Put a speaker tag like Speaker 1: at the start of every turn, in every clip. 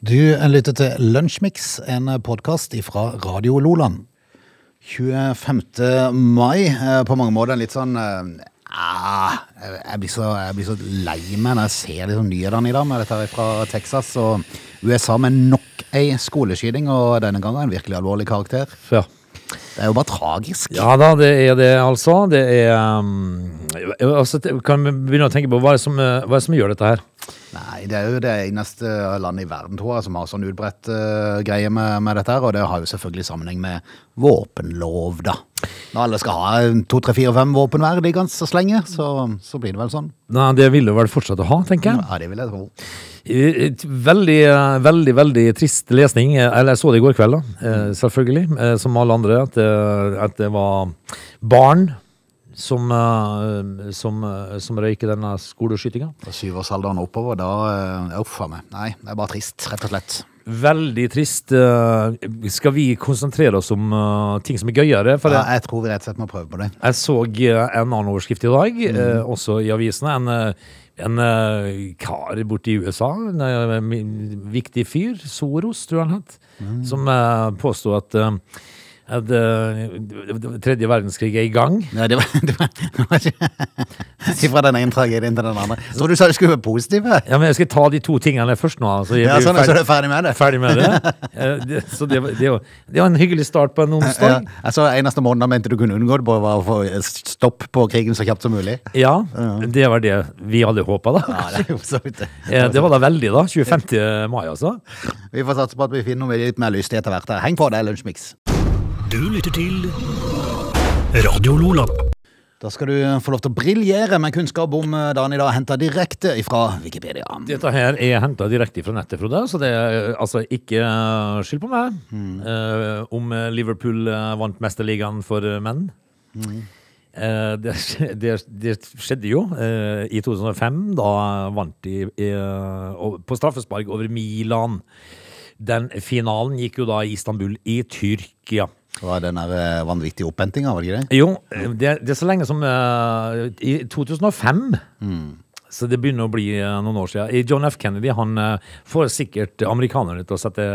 Speaker 1: Du lytter til Lunsjmix, en podkast fra Radio Loland. 25. mai, eh, på mange måter en litt sånn eh, ah, jeg- jeg, blir så, jeg blir så lei meg når jeg ser liksom nyhetene i dag med dette her fra Texas og USA med nok ei skoleskyting, og denne gangen en virkelig alvorlig karakter.
Speaker 2: Ja.
Speaker 1: Det er jo bare tragisk.
Speaker 2: ja da, det er det, altså. Det er um, altså, det- Kan vi begynne å tenke på hva er det som, eh, hva er det som gjør dette her?
Speaker 1: Nei, det er jo det eneste landet i verden, tror jeg, som har sånn utbredt eh, greie med, med dette her, og det har jo selvfølgelig sammenheng med våpenlov, da. Når alle skal ha en to, tre, fire, fem våpen hver liggende og slenge, så, så blir det vel sånn.
Speaker 2: Nei, det vil du vel fortsatt ha, tenker jeg.
Speaker 1: Ja, det vil jeg tro.
Speaker 2: Eh, et Veldig, eh, veldig veldig trist lesning. Eh, Eller jeg så det i går kveld, da. eh, Selvfølgelig. eh, Som alle andre. At, eh, at det var barn som, eh, som, eh, som røyker denne skoleskytinga.
Speaker 1: Fra syvårsalderen oppover, da uh, Uff a meg. Nei, det er bare trist, rett og slett.
Speaker 2: Veldig trist. eh, Skal vi konsentrere oss om eh, ting som er gøyere? For
Speaker 1: Ja,
Speaker 2: jeg-
Speaker 1: jeg tror vi rett og slett må prøve på det.
Speaker 2: Jeg så eh, en annen overskrift i dag,
Speaker 1: Mm.
Speaker 2: eh, også i avisene. En, eh, en eh, kar borte i USA, en eh, mi- viktig fyr, Soros tror jeg han het,
Speaker 1: Mm.
Speaker 2: som eh, påstod at, eh, at eh, tredje verdenskrig er i gang.
Speaker 1: Nei, det var, det var, det var ikke Fra den ene tragedien til den andre. Jeg tror du sa du skulle være positiv. jeg.
Speaker 2: Ja, men jeg skal ta de to tingene først nå. Altså, jeg
Speaker 1: Ja,
Speaker 2: blir
Speaker 1: sånn,
Speaker 2: ferdig,
Speaker 1: så er du ferdig med det.
Speaker 2: ferdig med det. Eh, det så det, var- det, var- det var en hyggelig start på en
Speaker 1: Ja,
Speaker 2: onsdag.
Speaker 1: altså, eneste måneden jeg mente du kunne unngå det på, var å få stopp på krigen så kjapt som mulig.
Speaker 2: Ja, det var det vi hadde håpa, da.
Speaker 1: Ja, det er jo for så vidt det.
Speaker 2: Eh, Det var da veldig, da. 25. mai, altså.
Speaker 1: Vi får satse på at vi finner noe litt mer lystig etter hvert. her. Heng på, det er Lunsjmix.
Speaker 3: Du lytter til Radio Lola.
Speaker 1: Da skal du få lov til å briljere med kunnskap om eh, dagen i dag, henta direkte fra Wikipedia.
Speaker 2: Dette her er henta direkte fra nettet, Frode, så det er eh, altså ikke eh, skyld på meg. eh, om eh, Liverpool eh, vant Mesterligaen for eh, menn. Eh, det, skj- det, det skjedde jo eh, i 2005. Da vant de eh, og- på straffespark over Milan. Den finalen gikk jo da i Istanbul i Tyrkia.
Speaker 1: Det var den der eh, vanvittige opphentinga, var det ikke det?
Speaker 2: Jo, det, det er så lenge som eh, I 2005 Så det begynner å bli eh, noen år siden I John F. Kennedy, han eh, får sikkert amerikanerne til å sette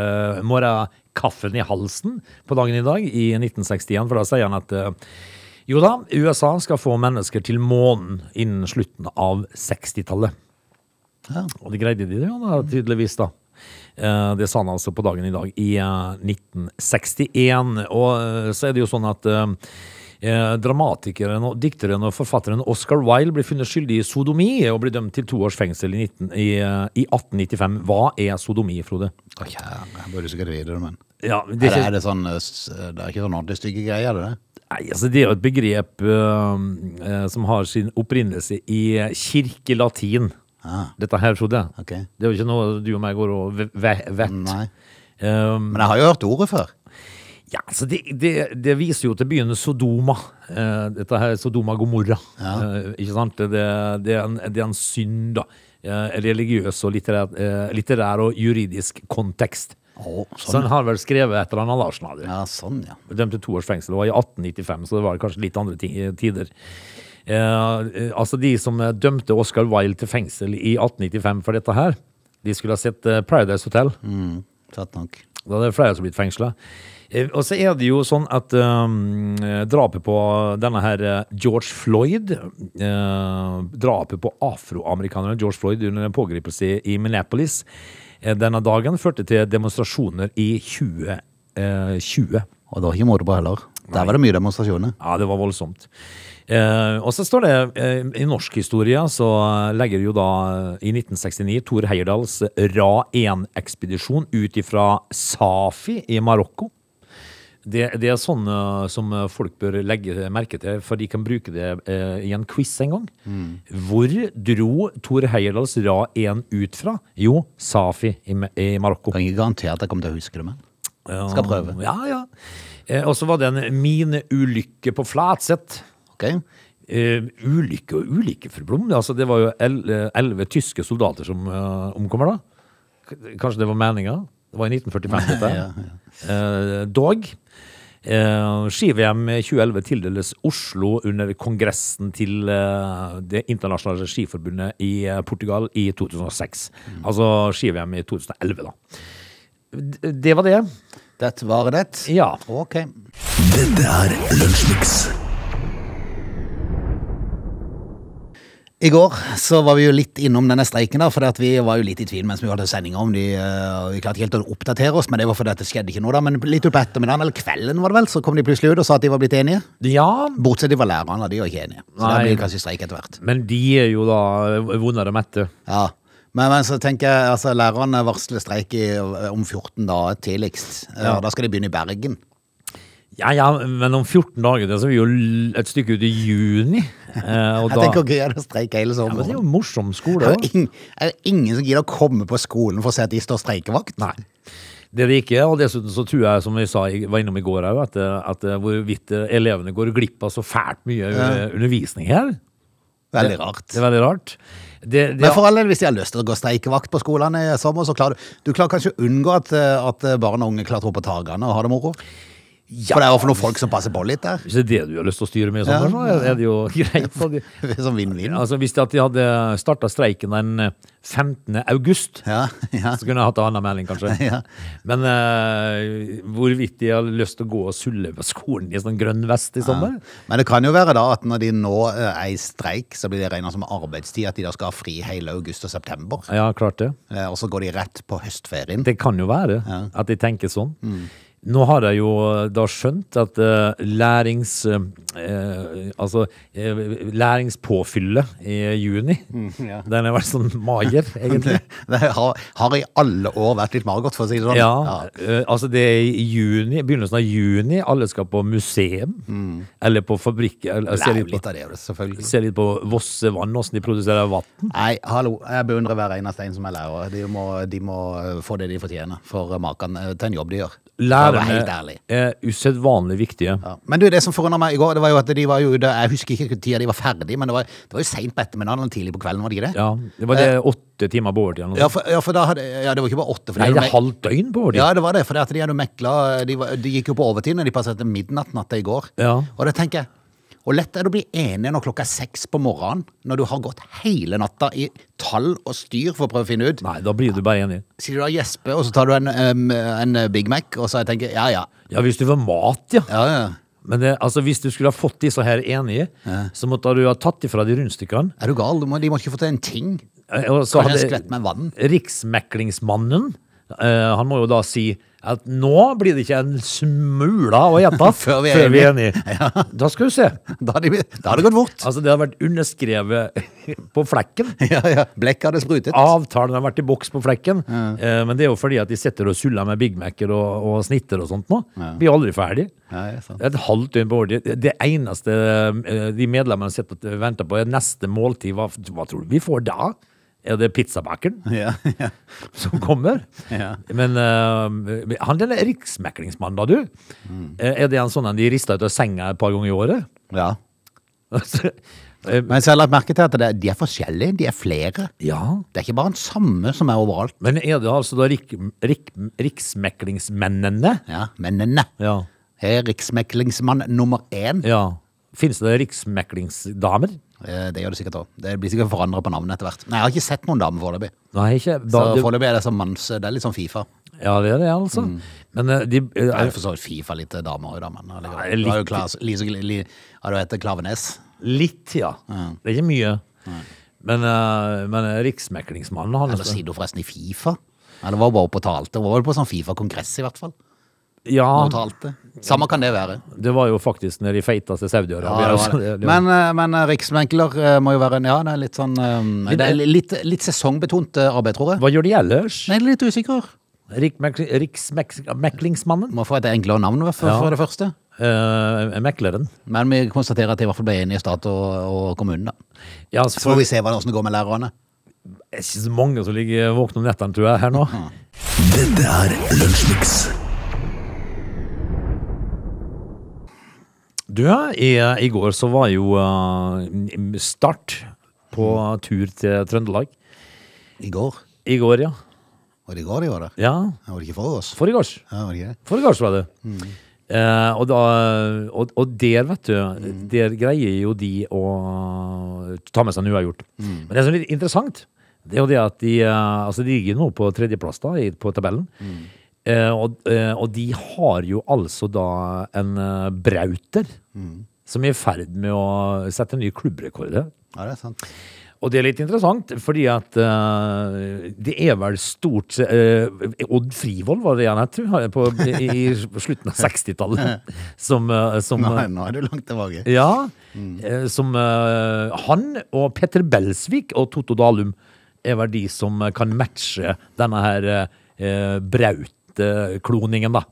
Speaker 2: morgenkaffen kaffen i halsen på dagen i dag i 1961, for da sier han at eh, jo da, USA skal få mennesker til månen innen slutten av 60-tallet.
Speaker 1: Ja.
Speaker 2: Og det greide de, ja, da, tydeligvis, da. Eh, Det sa han altså på dagen i dag, i eh, 1961. Og eh, så er det jo sånn at eh, eh, dramatikeren og dikteren og forfatteren Oscar Wilde ble funnet skyldig i sodomi og ble dømt til to års fengsel i, 19, i, eh, i 1895. Hva er sodomi, Frode?
Speaker 1: Å, kjære, jeg burde sikkert vite det, men
Speaker 2: Ja, det,
Speaker 1: Eller er det sånn eh, s- Det er ikke sånn ordentlig stygge greier, er det det?
Speaker 2: Nei, altså det er jo et begrep eh, eh, som har sin opprinnelse i eh, kirkelatin.
Speaker 1: Ah.
Speaker 2: Dette her, Frode.
Speaker 1: Ok.
Speaker 2: Det er jo ikke noe du og meg går og ve- ve- vet.
Speaker 1: Nei.
Speaker 2: Um,
Speaker 1: Men jeg har jo hørt ordet før.
Speaker 2: ja, altså det, det, det viser jo til byen Sodoma. Eh, dette her er Sodoma Gomorra. Eh, ikke sant? Det, det, er en, det er en synd, da. Eh, religiøs og litterær, eh, litterær og juridisk kontekst.
Speaker 1: Å, sånn.
Speaker 2: Så han har vel skrevet et eller annet, Larsen. hadde.
Speaker 1: Ja, sånn, ja.
Speaker 2: Dømt til to års fengsel. Det var i 1895, så det var kanskje litt andre ti- tider. Eh, eh, altså De som eh, dømte Oscar Wilde til fengsel i 1895 for dette her, de skulle ha sett eh, Paradise Hotel.
Speaker 1: Mm, Satt nok.
Speaker 2: Da er det flere som har blitt fengsla. Eh, og så er det jo sånn at um, eh, drapet på denne her eh, George Floyd eh, Drapet på afroamerikaneren George Floyd under en pågripelse i Minneapolis eh, denne dagen førte til demonstrasjoner i 2020. Eh, 20.
Speaker 1: Og det var ikke moro på heller. Der var det mye demonstrasjoner.
Speaker 2: Ja, det var voldsomt. Eh, og så står det eh, i norsk historie så legger jo da eh, i 1969 Thor Heyerdahls Ra-1-ekspedisjon ut ifra Safi i Marokko. Det, det er sånn eh, som folk bør legge merke til, for de kan bruke det eh, i en quiz en gang.
Speaker 1: Mm.
Speaker 2: Hvor dro Thor Heyerdahls Ra-1 ut fra? Jo, Safi i, Ma- i Marokko.
Speaker 1: Kan ikke garantere at jeg kommer til å huske det, men
Speaker 2: Ja,
Speaker 1: Skal prøve.
Speaker 2: Ja, ja. Eh, og så var det en mineulykke på Flatseth.
Speaker 1: ok?
Speaker 2: Eh, ulykke og ulykke, fru Blom. Altså, det var jo el- eh, elleve tyske soldater som eh, omkommer da. K- Kanskje det var meninga? Det var i 1945, dette.
Speaker 1: Ja,
Speaker 2: Eh, dog. Eh, Ski-VM 2011 tildeles Oslo under kongressen til eh, Det internasjonale skiforbundet i eh, Portugal i 2006. Altså ski-VM i 2011, da. D- Det var det.
Speaker 1: Dette var det.
Speaker 2: Ja.
Speaker 1: Ok.
Speaker 3: Dette er Lunsjmix.
Speaker 1: I går så var vi jo litt innom denne streiken, da, for at vi var jo litt i tvil mens vi hadde sendinga om de eh, Vi klarte ikke helt å oppdatere oss, men det var fordi at det skjedde ikke noe, da. Men litt utpå ettermiddagen, eller kvelden var det vel, så kom de plutselig ut og sa at de var blitt enige.
Speaker 2: ja.
Speaker 1: Bortsett fra lærerne, de var ikke enige. Så da
Speaker 2: Nei.
Speaker 1: blir det kanskje streik etter hvert.
Speaker 2: Men de er jo da eh, vondere mette.
Speaker 1: Ja. Men, men så tenker jeg, altså lærerne varsler streik i, eh, om 14 dager tidligst. Ja. Da skal de begynne i Bergen.
Speaker 2: Ja, ja, men om 14 dager det, så er vi jo l- et stykke ut i juni. Eh,
Speaker 1: Jeg
Speaker 2: og da,
Speaker 1: tenker hvor gøy er det å streike hele
Speaker 2: ja, men det er
Speaker 1: sommeren.
Speaker 2: jo en morsom skole.
Speaker 1: det er jo
Speaker 2: da.
Speaker 1: ingen, det er jo ingen som gidder å komme på skolen for å se at de står streikevakt.
Speaker 2: Nei. Det er det ikke, og dessuten så tror jeg, som vi sa, i- var innom i går òg, at, eh, at eh, hvorvidt eh, elevene går glipp av så fælt mye eh, undervisning her.
Speaker 1: Veldig rart.
Speaker 2: Det er veldig rart. Det, det,
Speaker 1: Men for all del, hvis de har lyst til å gå streikevakt på skolene i sommer, så klarer du Du klarer kanskje å unngå at, eh, at barn og unge klatrer opp på takene og har det moro? For det er jo for noen folk som passer på litt der.
Speaker 2: hvis det er det du har lyst til å styre med i sommer, så er det jo greit. Så de,
Speaker 1: Som vinn-vinn.
Speaker 2: altså, hvis de, at de hadde starta streiken den eh, 15. august,
Speaker 1: Ja, ja.
Speaker 2: Så kunne jeg hatt en annen melding, kanskje.
Speaker 1: Ja.
Speaker 2: Men eh, hvorvidt de har lyst til å gå og sulle på skolen i sånn grønn vest i sommer?
Speaker 1: Men det kan jo være da at når de nå eh, er i streik, så blir det regna som arbeidstid at de da skal ha fri hele august og september.
Speaker 2: Ja, klart det.
Speaker 1: Eh, Og så går de rett på høstferien.
Speaker 2: Det kan jo være at de tenker sånn.
Speaker 1: Mm.
Speaker 2: Nå har jeg jo da skjønt at eh, lærings... eh, altså eh, læringspåfyllet i juni,
Speaker 1: Mm, ja.
Speaker 2: den har vært sånn mager, egentlig.
Speaker 1: Det, det har, har i alle år vært litt magert, for å si det sånn.
Speaker 2: Ja, eh, altså det er i juni, begynnelsen av juni, alle skal på museum,
Speaker 1: Mm.
Speaker 2: eller på fabrikk, eller
Speaker 1: Det
Speaker 2: ser
Speaker 1: er
Speaker 2: litt
Speaker 1: jo
Speaker 2: på
Speaker 1: litt av det, selvfølgelig.
Speaker 2: Se litt på Vossevann, hvordan de produserer vann.
Speaker 1: Nei, hallo. Jeg beundrer hver eneste en som er lærer. De må, de må eh, få det de fortjener for maken eh, til en jobb de gjør. For å være helt
Speaker 2: Lærerne
Speaker 1: ærlig.
Speaker 2: er usedvanlig viktige.
Speaker 1: Ja. Men du, det som forundra meg i går, det var jo at de var jo ute Jeg husker ikke tida de var ferdig, men det var, det var jo seint på ettermiddagen eller tidlig på kvelden, var det ikke det?
Speaker 2: Ja, det var det åtte timer på overtid. eller noe
Speaker 1: Eh, Ja,
Speaker 2: sånt.
Speaker 1: for, ja, for da hadde Ja, det var ikke bare åtte. For de
Speaker 2: sånn. Nei,
Speaker 1: hadde
Speaker 2: det er
Speaker 1: mek-
Speaker 2: halvt døgn på overtid.
Speaker 1: ja, det var det, for det at de hadde mekla de, var- de gikk jo på overtid når de passerte midnatt natt til i går.
Speaker 2: Ja.
Speaker 1: Og det tenker jeg Og lett er det å bli enige når klokka er seks på morgenen, når du har gått hele natta i tall og styr for å prøve å finne ut.
Speaker 2: Nei, da blir du bare enig.
Speaker 1: Sier du da gjespe, og så tar du en, em, en Big Mac, og så jeg tenker ja, ja.
Speaker 2: Ja, hvis du får mat, ja.
Speaker 1: ja, ja.
Speaker 2: Men det, altså, hvis du skulle ha fått disse her enige, så måtte du ha tatt ifra de rundstykkene.
Speaker 1: Er du gal? Du må, de må ikke få til en ting.
Speaker 2: Eh, og
Speaker 1: Kanskje
Speaker 2: så
Speaker 1: en
Speaker 2: hadde-
Speaker 1: skvett med vann?
Speaker 2: Riksmeklingsmannen, eh, han må jo da si at nå blir det ikke en smula å gjette
Speaker 1: Før vi er
Speaker 2: enige. Da skal du se.
Speaker 1: Da hadde, de- da hadde det gått fort.
Speaker 2: Altså, det har vært underskrevet på flekken.
Speaker 1: Ja, ja. Blekket hadde
Speaker 2: Ah.
Speaker 1: sprutet.
Speaker 2: Avtalen har vært i boks på flekken, eh, men det er jo fordi at de sitter og suller med Big Mac-er og, og snitter og sånt nå. Blir aldri ferdig.
Speaker 1: Nei, sant.
Speaker 2: Det er et halvt døgn på året. Det- Det eneste eh, de medlemmene sitter og venter på, er neste måltid. Hva, hva tror du vi får da? Er det pizzabakeren
Speaker 1: Ja, ja.
Speaker 2: som kommer?
Speaker 1: Ja.
Speaker 2: Men eh, han denne riksmeklingsmannen, da, du. eh, Er det en sånn en de rister ut av senga et par ganger i året?
Speaker 1: ja.
Speaker 2: Altså, eh,
Speaker 1: Men så har jeg lagt merke til at det, de er forskjellige. De er flere.
Speaker 2: ja.
Speaker 1: Det er ikke bare den samme som er overalt.
Speaker 2: Men er det altså da rik, rik, riksmeklingsmennene?
Speaker 1: Ja, Mennene.
Speaker 2: Ja.
Speaker 1: Her er riksmeklingsmann nummer én.
Speaker 2: ja. Finnes det riksmeklingsdamer?
Speaker 1: Eh, Det gjør det sikkert òg. Det blir sikkert forandra på navnet etter hvert. Nei, Jeg har ikke sett noen dame foreløpig.
Speaker 2: Nei, ikke da,
Speaker 1: Så
Speaker 2: det-
Speaker 1: Foreløpig er det sånn manns... Det er litt sånn Fifa.
Speaker 2: Ja, det er det, altså. Men eh, de eh,
Speaker 1: Mm. Det er
Speaker 2: er
Speaker 1: jo for så vidt Fifa litt damer òg, da, men allikevel.
Speaker 2: Nei,
Speaker 1: Du har jo
Speaker 2: litt-
Speaker 1: Klaas, Lise, li, ja, du heter Klavenes.
Speaker 2: litt, ja. Det er ikke mye. Men, eh, men eh, riksmeklingsmannen, han
Speaker 1: Eller sier du forresten i Fifa? Eller var hun bare oppe og talte? Hun var vel på sånn Fifa-kongress, i hvert fall.
Speaker 2: Ja,
Speaker 1: Hun talte. Samme kan det være.
Speaker 2: det var jo faktisk når de feita til Saudi-Arabia.
Speaker 1: Ja, det
Speaker 2: altså,
Speaker 1: var
Speaker 2: det-
Speaker 1: det.
Speaker 2: det-
Speaker 1: Men, eh, men eh, riksmekler eh, må jo være en- Ja, det er litt sånn eh, Det er litt, litt sesongbetont eh, arbeid, tror jeg.
Speaker 2: Hva gjør de ellers?
Speaker 1: Nei, litt usikker.
Speaker 2: Rikmekli- Riksmeklingsmannen?
Speaker 1: Må få et enklere navn, i hvert fall,
Speaker 2: Ja.
Speaker 1: for det første.
Speaker 2: Eh, mekleren.
Speaker 1: Men vi konstaterer at de i hvert fall ble enige i stat og, og kommune, da.
Speaker 2: Ja, altså,
Speaker 1: Så får
Speaker 2: for,
Speaker 1: vi se hva- hvordan det går med lærerne.
Speaker 2: det er ikke så mange som ligger våkne om nettene, tror jeg, her nå.
Speaker 3: Dette er Lunsjmix.
Speaker 2: Du, i, i går så var jo eh, Start på tur til Trøndelag.
Speaker 1: I går.
Speaker 2: I går, ja.
Speaker 1: Var det i går de var der?
Speaker 2: Ja,
Speaker 1: Var det ikke for oss?
Speaker 2: forrige gårs.
Speaker 1: Ja, var det ikke det?
Speaker 2: Forrige gårs var det. Eh, og, da, og, og der, vet du, der greier jo de å ta med seg en uavgjort. Men det som er litt interessant, det er jo det at de, eh, altså de ligger nå på tredjeplass da, i- på tabellen. Eh, og, eh, og de har jo altså da en eh, brauter som er i ferd med å sette nye klubbrekorder.
Speaker 1: Ja, det er sant.
Speaker 2: Og det er litt interessant, fordi at eh, det er vel stort eh, Odd Frivold var det han het, tror jeg, på- i, i slutten av 60-tallet. Som, eh, som
Speaker 1: Nei, nå er du langt tilbake.
Speaker 2: Ja. eh, Som eh, Han og Petter Belsvik og Totto Dalum er vel de som kan matche denne her eh, Braut-kloningen, da.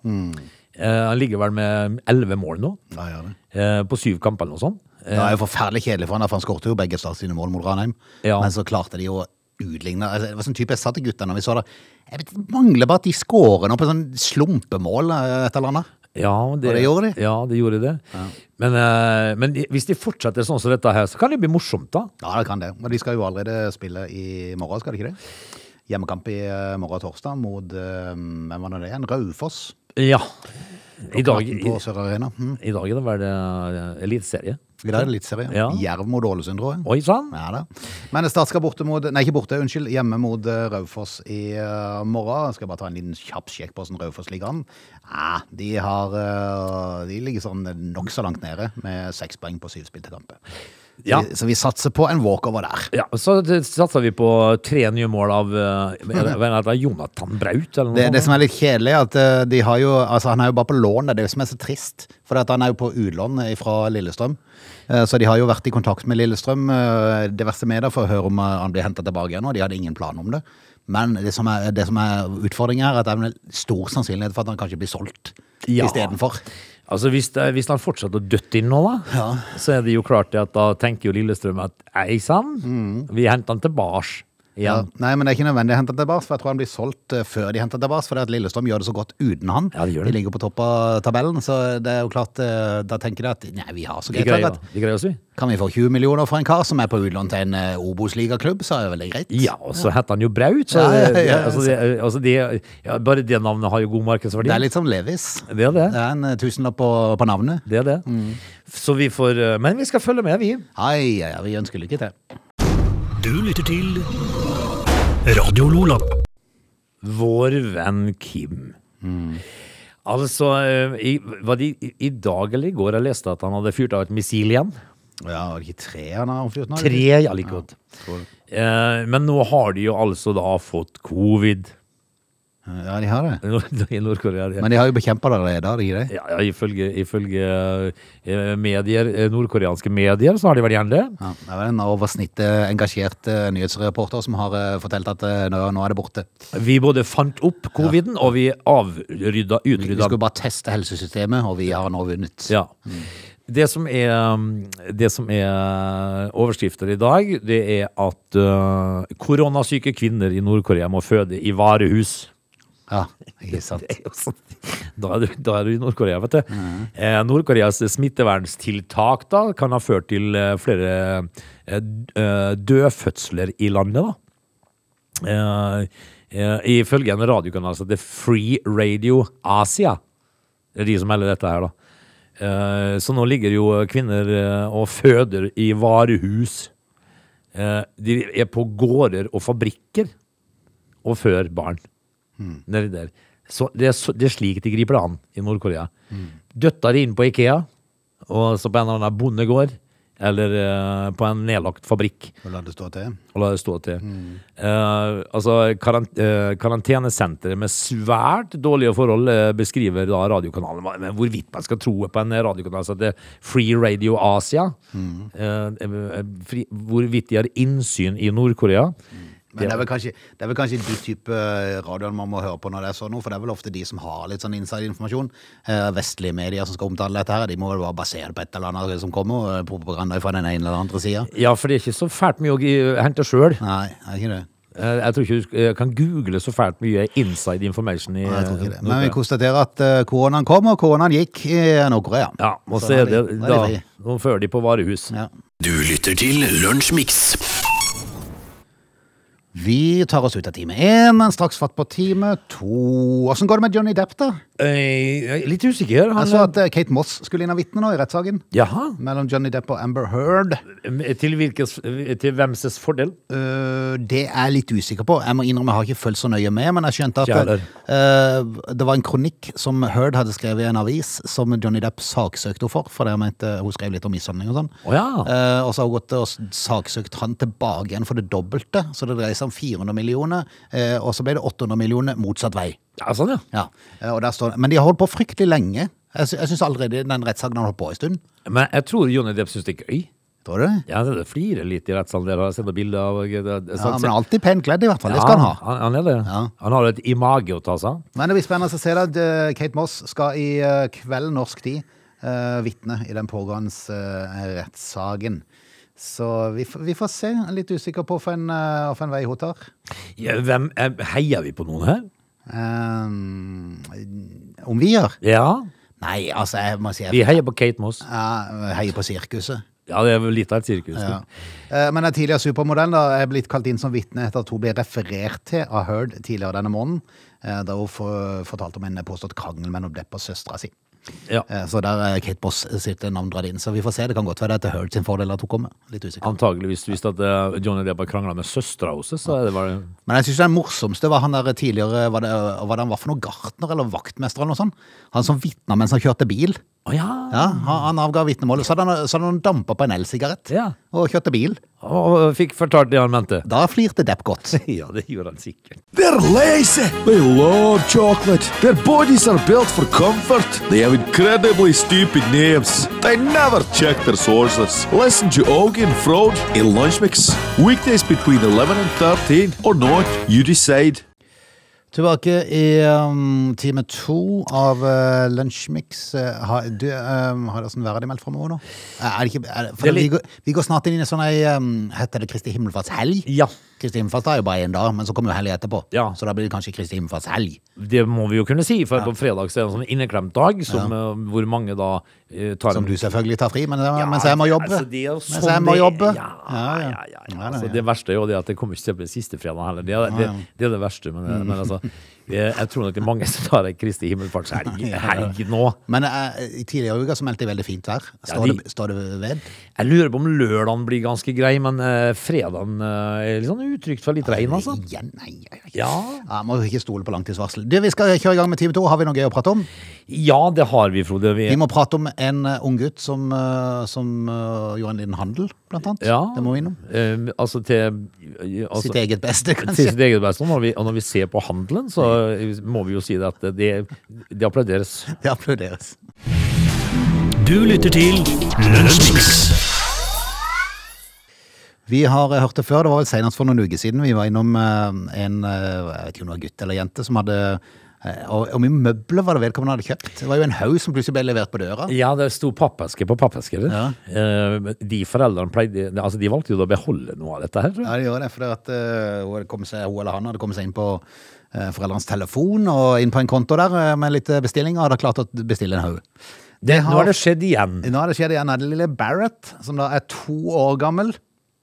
Speaker 2: Eh, han ligger vel med elleve mål nå,
Speaker 1: Ja, gjør det.
Speaker 2: eh, på syv kamper eller noe sånt.
Speaker 1: Det er jo forferdelig kjedelig for han, da, for han skårte jo begge Start sine mål mot Ranheim.
Speaker 2: Ja.
Speaker 1: Men så klarte de å utligne altså, Det var sånn type jeg sa til gutta når vi så det. Jeg vet, det mangler bare at de skårer nå på sånn slumpemål, eh, et eller annet.
Speaker 2: Ja,
Speaker 1: Og det gjorde de.
Speaker 2: Ja, det gjorde det. Men, eh, men de- hvis de fortsetter sånn som dette her, så kan det bli morsomt, da.
Speaker 1: Ja, det kan det. Men de skal jo allerede spille i morgen, skal de ikke det? Hjemmekamp i eh, morgen torsdag mot eh, hvem var det det igjen? Raufoss.
Speaker 2: Ja. I dag,
Speaker 1: Natten
Speaker 2: i,
Speaker 1: På Sør Arena. Mm.
Speaker 2: i dag er det vel eh, eliteserie.
Speaker 1: I dag er det Eliteserien.
Speaker 2: Ja.
Speaker 1: Jerv mot Ålesund, tror jeg.
Speaker 2: Oi sann!
Speaker 1: Ja da. Men Start skal borte mot Nei, ikke borte, unnskyld. Hjemme mot eh, Raufoss i eh, morgen. Jeg skal bare ta en liten kjapp sjekk på hvordan Raufoss ligger an. Ja, de har eh, De ligger sånn nokså langt nede, med seks poeng på syv spilte kamper. Så,
Speaker 2: Ja.
Speaker 1: vi, så vi satser på en walkover der.
Speaker 2: Ja, så t- satser vi på tre nye mål av eh, er det- hva heter det, Jonathan Braut, eller noe
Speaker 1: Det, det
Speaker 2: sånt.
Speaker 1: som er litt kjedelig, er at eh, de har jo, altså, han er jo bare på lån. Det er det som er så trist. For at han er jo på utlån fra Lillestrøm. Eh, Så de har jo vært i kontakt med Lillestrøm, eh, diverse medier, for å høre om eh, han blir henta tilbake igjen. Og de hadde ingen plan om det. Men det som er, det som er utfordringen her, er at det er vel stor sannsynlighet for at han kanskje blir solgt
Speaker 2: Ja.
Speaker 1: istedenfor.
Speaker 2: Altså, hvis, det- hvis han fortsetter å døtte inn nå, da, så er det jo klart det at da tenker jo Lillestrøm at ei sann, vi henter han
Speaker 1: Mm.
Speaker 2: tilbake
Speaker 1: Ja.
Speaker 2: igjen.
Speaker 1: Nei, men det er ikke nødvendig å hente han tilbake, for jeg tror han blir solgt eh, før de henter han tilbake. For det at Lillestrøm gjør det så godt uten han.
Speaker 2: Ja, de gjør det.
Speaker 1: ligger på topp av tabellen, så det er jo klart eh, Da tenker de at nei, vi har så
Speaker 2: Vi
Speaker 1: greit lag
Speaker 2: greier,
Speaker 1: at
Speaker 2: vi greier oss, vi.
Speaker 1: Kan vi få 20 millioner for en kar som er på utlån til en eh, Obos-ligaklubb, så er det veldig greit.
Speaker 2: Ja, og så heter han jo Braut. Så,
Speaker 1: Ja, ja, ja, ja.
Speaker 2: altså, det, altså det, ja, bare det navnet har jo god
Speaker 1: Det
Speaker 2: markedsverdi.
Speaker 1: er litt Mm. som Levis.
Speaker 2: Det er det.
Speaker 1: Det er en eh, tusenlapp på, på navnet.
Speaker 2: det, er det. Så vi får, eh, men vi skal følge med, vi.
Speaker 1: Ai, ai, ai, vi ønsker lykke til.
Speaker 3: Du lytter til Radio Lola.
Speaker 2: Vår venn Kim.
Speaker 1: Mm.
Speaker 2: Altså, eh, i, var det i, i dag eller i går jeg leste at han hadde fyrt av et missil igjen?
Speaker 1: Ja, var det ikke tre han har omfjort nå?
Speaker 2: Tre, ja, like godt.
Speaker 1: tror
Speaker 2: Eh, men nå har de jo altså da fått covid
Speaker 1: Ja, de har det.
Speaker 2: i Nord-Korea. det-
Speaker 1: Men de har jo bekjempa det allerede, har de ikke det?
Speaker 2: Ja, ja ifølge, ifølge eh, medier, eh, nordkoreanske medier så har de vært gjerne det.
Speaker 1: Ja, det er vel en over snittet engasjert eh, nyhetsreporter som har eh, fortalt at eh, nå, nå er det borte.
Speaker 2: Vi både fant opp coviden, og vi avrydda,
Speaker 1: Vi
Speaker 2: utrydda
Speaker 1: skulle bare teste helsesystemet, og vi har nå vunnet.
Speaker 2: ja. det, som er, um, det som er eh, overskrifter i dag, det er at uh, koronasyke kvinner i Nord-Korea må føde i varehus.
Speaker 1: Ja, ikke sant.
Speaker 2: Det er jo sånn. Da er du, da er du i Nord-Korea, vet du. Eh, Nord-Koreas smittevernstiltak da, kan ha ført til eh, flere eh, d- eh, dødfødsler i landet. da. Eh, eh, ifølge en radiokanal som heter Free Radio Asia. Det er de som melder dette her, da. Eh, så nå ligger jo kvinner eh, og føder i varehus. Eh, de er på gårder og fabrikker og før barn. Mm. Nedi der. Så det, er, så- det er slik de griper det an i Nord-Korea. Døtter de inn på Ikea, og så på en eller annen bondegård, eller eh, på en nedlagt fabrikk
Speaker 1: Og la det stå til.
Speaker 2: og la det stå til. Eh, altså, karan eh, karantenesenteret med svært dårlige forhold eh, beskriver da radiokanalen. Hva- Men hvorvidt man skal tro på en radiokanal altså som heter Free Radio Asia, eh, eh, fri, hvorvidt de har innsyn i Nord-Korea.
Speaker 1: Men det er, vel kanskje, det er vel kanskje de type radioen man må høre på når det er sånn noe, for det er vel ofte de som har litt sånn inside-informasjon. Eh, vestlige medier som skal omtale dette her, de må vel bare basere det på et eller annet som kommer, og propaganda fra den ene eller den andre sida.
Speaker 2: Ja, for det er ikke så fælt mye å gi- hente sjøl.
Speaker 1: Nei, er ikke det.
Speaker 2: Eh, jeg tror ikke du sk- eh, kan google så fælt mye inside information i
Speaker 1: Nei, jeg tror ikke det.
Speaker 2: eh,
Speaker 1: Men vi
Speaker 2: Nord-Korea.
Speaker 1: konstaterer at eh, koronaen kom, og koronaen gikk i eh, Nord-Korea.
Speaker 2: Ja, og
Speaker 1: Så
Speaker 2: så
Speaker 1: da
Speaker 2: er det
Speaker 1: er de- da er de
Speaker 2: da
Speaker 1: fri.
Speaker 2: Nå fører de på varehus.
Speaker 1: Ja.
Speaker 3: Du lytter til Lunsjmix.
Speaker 1: Vi tar oss ut av time én, men straks fatt på time to. Åssen går det med Johnny Depp, da?
Speaker 2: Eh, litt usikker. Han,
Speaker 1: Jeg så at eh, Kate Moss skulle inn og vitne nå i rettssaken.
Speaker 2: Jaha.
Speaker 1: Mellom Johnny Depp og Amber Heard.
Speaker 2: eh, Til, hvilkes, til hvemses fordel?
Speaker 1: Øh, det er jeg litt usikker på. Jeg må innrømme, jeg har ikke følt så nøye med, men jeg skjønte at
Speaker 2: Kjæler.
Speaker 1: øh, det var en kronikk som Heard hadde skrevet i en avis, som Johnny Depp saksøkte henne for, for det mente hun skrev litt om mishandling og sånn.
Speaker 2: Å ja.
Speaker 1: Eh, og så har hun gått og s- saksøkt han tilbake igjen for det dobbelte, så det dreier seg om 400 millioner, eh, og så ble det 800 millioner motsatt vei.
Speaker 2: Ja, sånn, ja.
Speaker 1: Ja, eh, og der står det. Men de har holdt på fryktelig lenge. Jeg, sy jeg syns allerede den rettssaken har holdt på en stund.
Speaker 2: Men jeg tror Johnny Depp syns det er gøy.
Speaker 1: Tror du det?
Speaker 2: Ja, det flirer litt i rettssalen. Der har jeg sett noen bilder av det-
Speaker 1: Ja,
Speaker 2: sånn-
Speaker 1: men alltid pent kledd, i hvert fall. Det skal han ha.
Speaker 2: Han, han er det.
Speaker 1: Ja.
Speaker 2: Han har et image å ta seg av.
Speaker 1: Men det blir spennende å se det. Det- Kate Moss skal i eh, kveld norsk tid uh, vitne i den pågående eh, rettssaken. Så vi, f- vi får se. Jeg er litt usikker på hvilken eh, hvilken vei hun tar.
Speaker 2: Ja, Hvem, eh, heier vi på noen her?
Speaker 1: Eh, om vi gjør?
Speaker 2: Ja.
Speaker 1: Nei, altså, jeg må si jeg,
Speaker 2: Vi heier på Kate Moss.
Speaker 1: jeg heier på sirkuset.
Speaker 2: Ja, det er vel litt av et sirkus.
Speaker 1: Ja. Eh, Men den tidligere supermodellen da, er blitt kalt inn som vitne etter at hun ble referert til av Heard tidligere denne måneden, eh, da hun for- fortalte om en påstått krangel mellom Depp og søstera si.
Speaker 2: Ja.
Speaker 1: Eh, Så der er Kate Boss sitt navn dratt inn. Så vi får se. Det kan godt være det er til Heard sin fordel at hun kommer. Litt usikker.
Speaker 2: Antageligvis hvis at eh, Johnny Depp har krangla med søstera hennes, så er det bare
Speaker 1: Men jeg syns den morsomste var han der tidligere Var det, var det han var for noe gartner eller vaktmester eller noe sånt? Han som vitna mens han kjørte bil.
Speaker 2: Å ja.
Speaker 1: Ja, han han avga vitnemålet. Så hadde han, så hadde han dampa på en elsigarett
Speaker 2: Ja.
Speaker 1: og kjørte bil.
Speaker 2: Og fikk fortalt det han mente.
Speaker 1: Da flirte Depp godt.
Speaker 2: Ja, det gjorde han sikkert.
Speaker 4: They're lazy. They love chocolate. Their bodies are built for comfort. They have incredibly stupid names. They never check their sources. Listen to Augie and Frode in Lunch Mix. Weekdays between 11 and 13 or not, you decide.
Speaker 1: Tilbake i um, time to av uh, Lunsjmix. Uh, har du, um, har det sånn været meldt framover nå? Eh, Er det ikke, er det, for
Speaker 2: Det er
Speaker 1: vi,
Speaker 2: litt-
Speaker 1: går, vi går snart inn i sånn ei um, Heter det Kristi himmelfartshelg?
Speaker 2: Ja.
Speaker 1: Kristi himmelfart er jo bare én dag, men så kommer jo helga etterpå.
Speaker 2: Ja.
Speaker 1: Så da blir det kanskje Kristi himmelfartshelg.
Speaker 2: Det må vi jo kunne si, for på fredag så er det en sånn inneklemt dag, som, eh, hvor mange da eh, tar
Speaker 1: Som
Speaker 2: en
Speaker 1: du selvfølgelig tar fri, men det,
Speaker 2: Ja,
Speaker 1: mens jeg må jobbe.
Speaker 2: altså, det er jo
Speaker 1: mens
Speaker 2: sånn
Speaker 1: jeg må
Speaker 2: det-
Speaker 1: jobbe.
Speaker 2: Ja, ja, ja. ja, Altså,
Speaker 1: ja.
Speaker 2: det verste er jo det at det kommer ikke til å bli siste fredag heller. Det er det, det, det, er det verste. Men, men altså, jeg, jeg tror nok det er mange som tar en Kristi himmelfartshelg helg nå.
Speaker 1: Men eh, i tidligere uker så meldte det veldig fint vær. Står,
Speaker 2: de-
Speaker 1: det, står det ved?
Speaker 2: Jeg lurer på om lørdagen blir ganske grei, men eh, fredagen eh, er litt sånn utrygt for litt regn, altså.
Speaker 1: Igjen? Nei, nei, nei.
Speaker 2: Ja.
Speaker 1: Må jo ikke stole på langtidsvarsel. Du, Vi skal kjøre i gang med time to. Har vi noe gøy å prate om?
Speaker 2: Ja, det har vi, Frode. Vi,
Speaker 1: Vi må prate om en eh, ung gutt som, eh, som eh, gjorde en liten handel, blant annet.
Speaker 2: ja,
Speaker 1: Det må vi innom.
Speaker 2: eh, altså til eh, altså,
Speaker 1: Sitt eget beste,
Speaker 2: til
Speaker 1: kanskje.
Speaker 2: sitt eget beste. Og når vi, og når vi ser på handelen, så eh, må vi jo si det at det, det applauderes.
Speaker 1: Det applauderes.
Speaker 3: Du lytter til Lunsjmix.
Speaker 1: Vi har eh, hørt det før, det var vel senest for noen uker siden. Vi var innom eh, en eh, jeg vet ikke om det var gutt eller jente som hadde eh, og og mye møbler var det vedkommende hadde kjøpt. Det var jo en haug som plutselig ble levert på døra.
Speaker 2: Ja, det sto pappeske på pappeske. det.
Speaker 1: Ja.
Speaker 2: Eh, men De foreldrene pleide, altså de valgte jo da å beholde noe av dette her. tror jeg.
Speaker 1: Ja, det gjør det, for at, eh, hun, hadde kommet seg, hun eller han hadde kommet seg inn på eh, foreldrenes telefon og inn på en konto der eh, med litt eh, bestillinger, og hadde klart å bestille en haug. Det
Speaker 2: Nå har det skjedd igjen.
Speaker 1: Nå har det skjedd igjen. Det er lille Barrett, som da er to år gammel.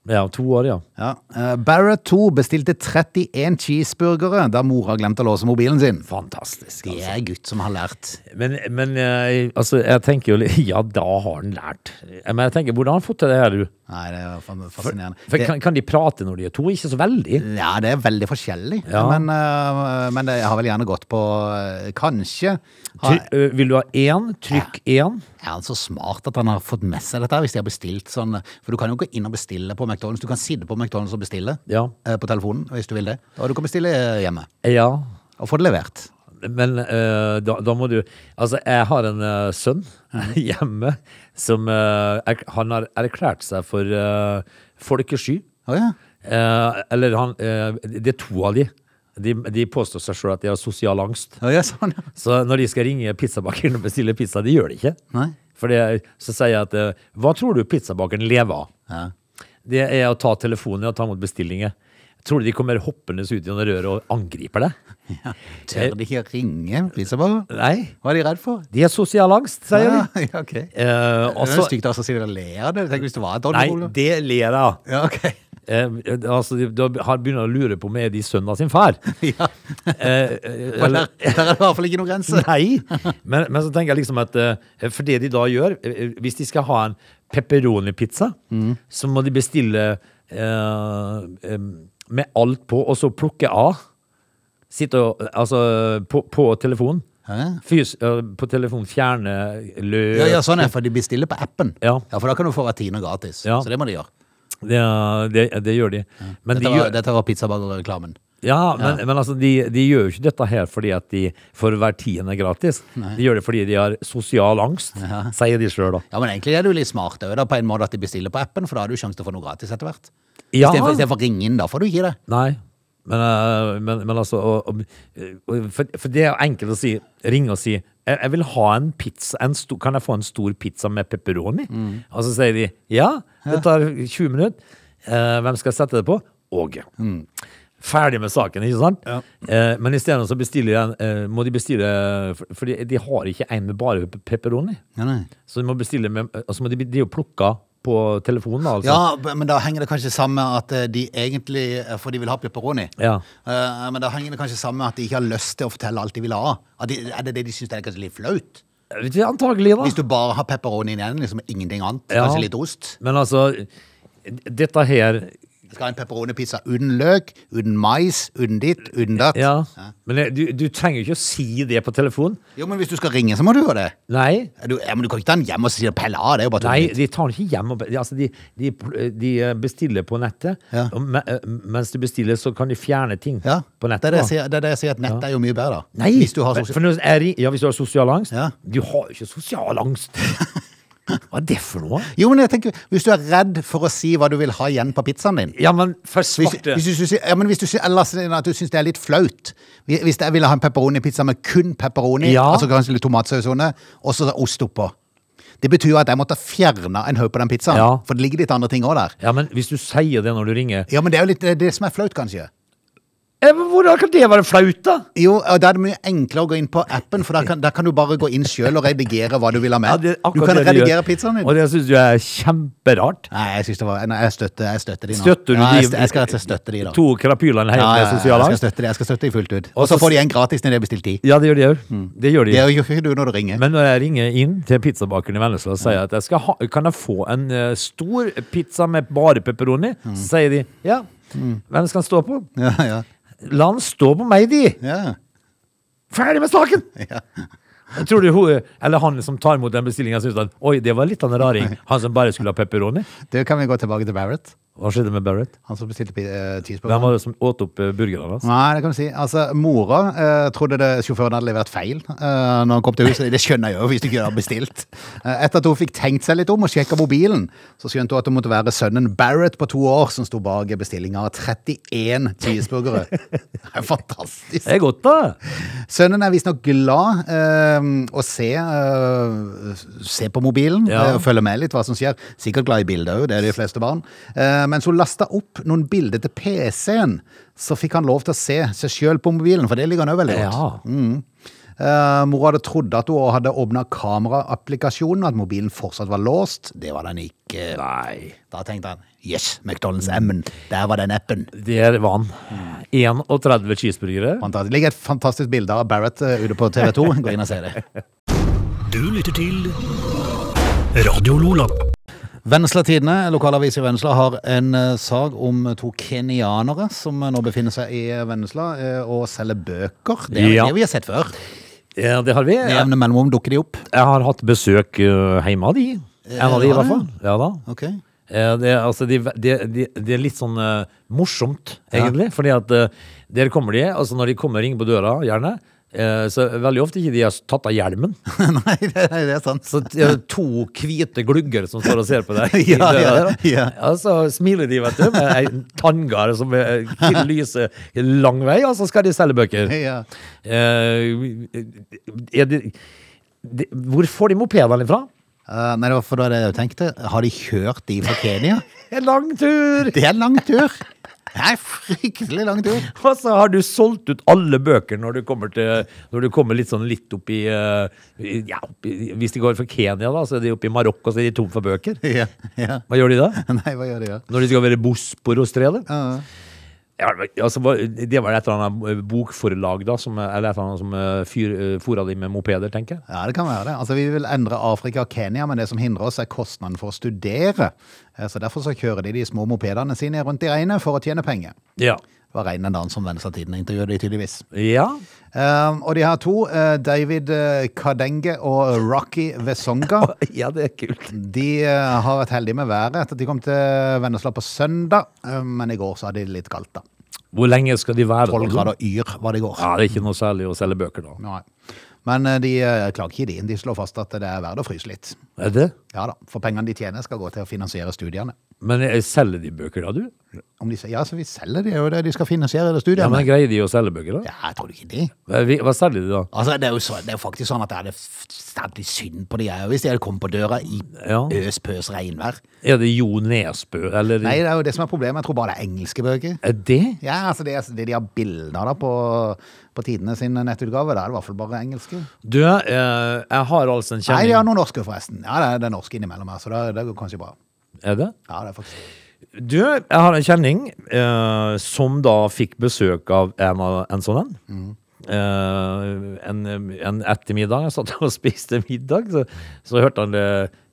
Speaker 2: Ja, to år, ja.
Speaker 1: Ja. eh, Barrett 2 bestilte 31 cheeseburgere da mora glemte å låse mobilen sin.
Speaker 2: Fantastisk.
Speaker 1: Det
Speaker 2: Altså.
Speaker 1: er en gutt som har lært.
Speaker 2: Men, men eh, altså, jeg tenker jo litt- Ja, da har han lært. Eh, Men jeg tenker, hvordan har han fått til det her, du?
Speaker 1: Nei, det er fa- fascinerende.
Speaker 2: For
Speaker 1: Det,
Speaker 2: kan, kan de prate når de er to? Ikke så veldig.
Speaker 1: ja, det er veldig forskjellig,
Speaker 2: Ja.
Speaker 1: men, eh, men det har vel gjerne gått på eh, Kanskje har,
Speaker 2: Try, eh, vil du ha én? Trykk én.
Speaker 1: er han så smart at han har fått med seg dette her, hvis de har bestilt sånn For du kan jo gå inn og bestille på McDonald's. Du kan sitte på McDonald's og bestille
Speaker 2: Ja.
Speaker 1: eh, på telefonen hvis du vil det. Og du kan bestille eh, hjemme
Speaker 2: Ja.
Speaker 1: og få det levert.
Speaker 2: Men eh, da, da må du Altså, jeg har en eh, sønn
Speaker 1: Mhm.
Speaker 2: hjemme som eh, erk- Han har erklært seg for eh, folkesky.
Speaker 1: Å ja.
Speaker 2: Eh, eller han eh, Det er to av de. De, de påstår seg sjøl at de har sosial angst.
Speaker 1: Å ja, sånn, ja.
Speaker 2: Så når de skal ringe pizzabakeren og bestille pizza, de gjør det ikke.
Speaker 1: Nei.
Speaker 2: For det, så sier jeg at eh, Hva tror du pizzabakeren lever av?
Speaker 1: ja.
Speaker 2: Det er å ta telefonen og ta imot bestillinger. Tror du de kommer hoppende ut gjennom røret og angriper deg?
Speaker 1: Tør de ikke å ringe pizzabarer?
Speaker 2: Nei.
Speaker 1: Hva er de redd for?
Speaker 2: De har sosial angst, sier de.
Speaker 1: Ja, ja, ok.
Speaker 2: Eh,
Speaker 1: det er jo
Speaker 2: også,
Speaker 1: stygt altså, å si det og le av det. Tenk hvis det var et
Speaker 2: nei,
Speaker 1: oljeproblem.
Speaker 2: det ler jeg av.
Speaker 1: Ja, ok.
Speaker 2: eh, altså, de- Da har- begynner jeg å lure på om er de sønnen av sin far.
Speaker 1: Ja.
Speaker 2: Eh,
Speaker 1: For der, der er det i hvert fall ikke noen grense.
Speaker 2: Nei, men, men så tenker jeg liksom at eh, For det de da gjør eh, Hvis de skal ha en pepperoni-pizza
Speaker 1: Mm.
Speaker 2: Så må de bestille eh, eh, Med alt på Og så plukke av Sitte og, altså på, på telefonen
Speaker 1: Hæ?
Speaker 2: Fys, eh, På telefonen fjerne løp
Speaker 1: Ja, ja, sånn er det, for de bestiller på appen.
Speaker 2: Ja.
Speaker 1: for da kan du få Ratina gratis.
Speaker 2: Ja.
Speaker 1: Så det må de gjøre.
Speaker 2: det, det, det gjør de Men
Speaker 1: Dette
Speaker 2: de
Speaker 1: var,
Speaker 2: gjør,
Speaker 1: dette var pizzaballer-reklamen.
Speaker 2: Ja, men, men altså, de, de gjør jo ikke dette her fordi at de får hver tiende gratis. De gjør det fordi de har sosial angst, sier de sjøl, da.
Speaker 1: Ja, men egentlig er du litt smart òg, på en måte at de bestiller på appen, for da har du sjanse til å få noe gratis etter hvert.
Speaker 2: Ja.
Speaker 1: Istedenfor ja. å ringe inn, da får du ikke det.
Speaker 2: Nei, men, eh, men, men altså og, og, og- for, for det er enkelt å si Ringe og si jeg, jeg vil ha en pizza en sto, Kan jeg få en stor pizza med pepperoni?
Speaker 1: Mm.
Speaker 2: Og så sier de ja, det tar 20 minutter Eh, Hvem skal sette det på? Åge
Speaker 1: Mm.
Speaker 2: Ferdig med saken, ikke sant? Eh, men i stedet så bestiller jeg, en, eh, må de bestille For, for de, de har ikke en med bare pe- pepperoni
Speaker 1: Ja, nei.
Speaker 2: Så de må bestille med, eh, Og så må de, de plukke på telefonen da, altså.
Speaker 1: Ja, men da henger det kanskje sammen med at eh, de egentlig eh, For de vil ha pepperoni.
Speaker 2: Ja.
Speaker 1: Eh, men da henger det kanskje sammen med at de ikke har lyst til å fortelle alt de vil ha. At de, er det det de syns er kanskje litt flaut?
Speaker 2: ja Eh, Antagelig da
Speaker 1: Hvis du bare har pepperoni igjen, liksom ingenting annet.
Speaker 2: Ja.
Speaker 1: Kanskje litt ost.
Speaker 2: Men altså, dette her
Speaker 1: Jeg skal ha en pepperoni-pizza uten løk, uten mais, uten ditt, uten datt.
Speaker 2: Ja. Men det- du, du trenger jo ikke å si det på telefon.
Speaker 1: Jo, men hvis du skal ringe, så må du gjøre det.
Speaker 2: Nei.
Speaker 1: Du, ja, men du kan ikke ta den hjem og si pelle av, det er jo bare
Speaker 2: Nei,
Speaker 1: tull.
Speaker 2: de tar den ikke hjem. og be- Altså, de, de, pl- de bestiller på nettet,
Speaker 1: Ja.
Speaker 2: og me, eh, mens du bestiller, så kan de fjerne ting
Speaker 1: Ja,
Speaker 2: på
Speaker 1: det
Speaker 2: nettet.
Speaker 1: er det jeg
Speaker 2: da.
Speaker 1: sier, det er det jeg sier at nett er jo mye bedre.
Speaker 2: Nei!
Speaker 1: Hvis du har
Speaker 2: men-
Speaker 1: sosial-
Speaker 2: for når jeg ri- ja, hvis du har sosial angst
Speaker 1: Ja.
Speaker 2: Du har jo ikke sosial angst! Hva er det for noe?
Speaker 1: Jo, men jeg tenker, hvis du er redd for å si hva du vil ha igjen på pizzaen din
Speaker 2: Ja, men for
Speaker 1: hvis,
Speaker 2: svarte
Speaker 1: hvis, du, sier- ja, men hvis du sier ellers at du syns det er litt flaut Hvis jeg ville ha en pepperoni-pizza med kun pepperoni,
Speaker 2: Ja.
Speaker 1: altså kanskje litt tomatsaus under, og så ost oppå Det betyr at jeg måtte fjerne en haug på den pizzaen,
Speaker 2: Ja.
Speaker 1: for det ligger litt andre ting òg der.
Speaker 2: Ja, men hvis du sier det når du ringer
Speaker 1: Ja, men det er jo litt det, er det som er flaut, kanskje.
Speaker 2: eh, men Hvordan kan det være flaut, da?
Speaker 1: Jo, og Da er det mye enklere å gå inn på appen, for da kan, da kan du bare gå inn sjøl og redigere hva du vil ha
Speaker 2: Ja,
Speaker 1: med.
Speaker 2: det er
Speaker 1: du
Speaker 2: akkurat
Speaker 1: kan
Speaker 2: det de gjør.
Speaker 1: redigere pizzaen din.
Speaker 2: Og det syns jeg er kjemperart.
Speaker 1: Nei, jeg, synes det var, nei, jeg, støtter, jeg støtter de nå.
Speaker 2: Støtter du
Speaker 1: ja, jeg,
Speaker 2: de-
Speaker 1: jeg skal rett og slett støtte de, da.
Speaker 2: To krapylene helt
Speaker 1: ja, ja,
Speaker 2: med
Speaker 1: ja,
Speaker 2: sosial
Speaker 1: jeg skal
Speaker 2: angst?
Speaker 1: støtte de, jeg skal støtte de fullt ut.
Speaker 2: Og
Speaker 1: Og så
Speaker 2: så-
Speaker 1: får de en gratis når de har bestilt ti.
Speaker 2: Ja, det gjør de òg. Det gjør de.
Speaker 1: Mm. Det gjør ikke du når du ringer.
Speaker 2: Men når jeg ringer inn til pizzabakeren i Vennesla og
Speaker 1: Mm.
Speaker 2: sier at jeg skal ha, kan jeg få en eh, stor pizza med bare pepperoni,
Speaker 1: Mm.
Speaker 2: så sier de ja. Hvem skal den stå på?
Speaker 1: Ja, ja,
Speaker 2: La den stå på meg, de!
Speaker 1: ja.
Speaker 2: Ferdig med saken!
Speaker 1: ja.
Speaker 2: Tror du hun, eller han som tar imot den bestillinga, syns at oi, det var litt av en raring, han som bare skulle ha pepperoni?
Speaker 1: Det kan vi gå tilbake til Barrett.
Speaker 2: Hva skjedde med Barrett?
Speaker 1: Han som bestilte uh, cheeseburger.
Speaker 2: Hvem var det som åt opp eh, burgeren hans?
Speaker 1: Nei, det kan du si. Altså, Mora eh, trodde det, sjåføren hadde levert feil eh, når han kom til huset. Det skjønner jeg jo, hvis du ikke hadde bestilt. Eh, etter at hun fikk tenkt seg litt om og sjekka mobilen, så skjønte hun at det måtte være sønnen Barrett på to år som sto bak bestillinga av 31 cheeseburgere. Det er fantastisk.
Speaker 2: Det er godt, da!
Speaker 1: Sønnen er visstnok glad eh, å se, eh, se på mobilen
Speaker 2: Ja.
Speaker 1: eh, og følge med litt hva som skjer. Sikkert glad i bilder òg, det er de fleste barn. Eh, mens hun lasta opp noen bilder til PC-en, så fikk han lov til å se seg sjøl på mobilen, for det ligger han òg veldig godt. Mm.
Speaker 2: Ja.
Speaker 1: Eh, mor hadde trodd at hun også hadde åpna kameraapplikasjonen, at mobilen fortsatt var låst. Det var den ikke.
Speaker 2: Nei.
Speaker 1: Da tenkte han yes, McDonald's-M-en. Der var den appen.
Speaker 2: Der var
Speaker 1: Mm.
Speaker 2: han. 31 cheeseburgere.
Speaker 1: Fantastisk. Det ligger et fantastisk bilde av Barrett eh, ute på TV 2. Gå inn og se det.
Speaker 3: Du lytter til Radio Lola.
Speaker 1: Vennesla Tidende, lokalavis i Vennesla, har en eh, sak om to kenyanere som eh, nå befinner seg i Vennesla eh, og selger bøker. Det er
Speaker 2: Ja.
Speaker 1: det vi har sett før.
Speaker 2: Ja, det har vi.
Speaker 1: Med jevne mellomrom dukker de opp.
Speaker 2: Jeg har hatt besøk eh, hjemme av de. En av de, i
Speaker 1: har
Speaker 2: hvert
Speaker 1: du?
Speaker 2: fall. Ja da.
Speaker 1: Ok.
Speaker 2: Eh, Det, er- altså, de, de, de, det er litt sånn eh, morsomt, egentlig. Fordi at eh, der kommer de, altså når de kommer og ringer på døra, gjerne, eh, så veldig ofte ikke de har tatt av hjelmen.
Speaker 1: Nei, det, nei, det er sant.
Speaker 2: Så t- eh, to hvite glugger som står og ser på deg i
Speaker 1: Ja,
Speaker 2: døra.
Speaker 1: ja,
Speaker 2: der, da.
Speaker 1: ja.
Speaker 2: Og så smiler de, vet du, med ei tanngare som eh, lyser lang vei, og så skal de selge bøker.
Speaker 1: Ja.
Speaker 2: Eh, er det, det, hvor får de mopedene fra?
Speaker 1: Eh, nei, det var for da det jeg tenkte. Har de kjørt de fra Kenya?
Speaker 2: En lang tur!
Speaker 1: Det er en lang tur. Det er fryktelig lang tur.
Speaker 2: Og så har du solgt ut alle bøker når du kommer, til, når du kommer litt sånn litt opp i eh, i- ja, opp i- Hvis de går fra Kenya, da, så er de oppe i Marokko, så er de tom for bøker.
Speaker 1: Ja, ja.
Speaker 2: Hva gjør de da?
Speaker 1: Nei, hva gjør de da?
Speaker 2: Når de skal være Bosporostredet?
Speaker 1: Ja.
Speaker 2: Ja, men, altså, hva- det var et eller annet eh, bokforlag da, som, eller et eller annet som eh, fyr, eh, fôra de med mopeder, tenker jeg.
Speaker 1: Ja, det kan være det. Altså, Vi vil endre Afrika og Kenya, men det som hindrer oss, er kostnaden for å studere. Eh, Så Derfor så kjører de de små mopedene sine rundt i regnet for å tjene penger.
Speaker 2: Ja.
Speaker 1: Det var regnet en dag som Venstretiden intervjuet de tydeligvis.
Speaker 2: Ja,
Speaker 1: Um, og de her to, eh, David eh, Kadenge og Rocky Vesonga,
Speaker 2: ja det er kult.
Speaker 1: de eh, har vært heldige med været etter at de kom til Vennesla på søndag. Eh, men i går så hadde de litt kaldt, da.
Speaker 2: Hvor lenge skal de være
Speaker 1: 12
Speaker 2: da?
Speaker 1: grader yr var det i går.
Speaker 2: Ja, det er ikke noe særlig å selge bøker da.
Speaker 1: Nei. Men eh, de eh, klager ikke, de. De slår fast at det er verdt å fryse litt.
Speaker 2: Er det?
Speaker 1: Ja da, For pengene de tjener, skal gå til å finansiere studiene.
Speaker 2: Men eh, selger de bøker da, du?
Speaker 1: Om de, sier- ja, så Vi selger det jo det de skal finansiere det
Speaker 2: Ja, men
Speaker 1: studiene.
Speaker 2: greier de å selge bøker da?
Speaker 1: Ja, jeg tror ikke de.
Speaker 2: Hva, vi- hva selger de da?
Speaker 1: Altså, det, er jo så, det er jo faktisk sånn at det er stadig synd på de her, hvis de hadde kommet på døra i
Speaker 2: Ja.
Speaker 1: øs-pøs regnvær.
Speaker 2: Er det Jo Nesbø, eller?
Speaker 1: Nei, det er jo det som er problemet. Jeg tror bare det er engelske bøker.
Speaker 2: Er det?
Speaker 1: Ja, altså det, er- det de har bilder da på, på tidene sin nettutgave, da er det i hvert fall bare engelske.
Speaker 2: Du, eh, jeg har altså en
Speaker 1: Nei,
Speaker 2: kjenning.
Speaker 1: de har noen norske forresten. Ja, det er, det er norske innimellom her, så det, det går kanskje bra.
Speaker 2: Er det?
Speaker 1: Ja, det er faktisk...
Speaker 2: Du, jeg har en kjenning eh, som da fikk besøk av en, av- en sånn en.
Speaker 1: Mm.
Speaker 2: Eh, en. En ettermiddag, jeg satt og spiste middag, så, så hørte han det,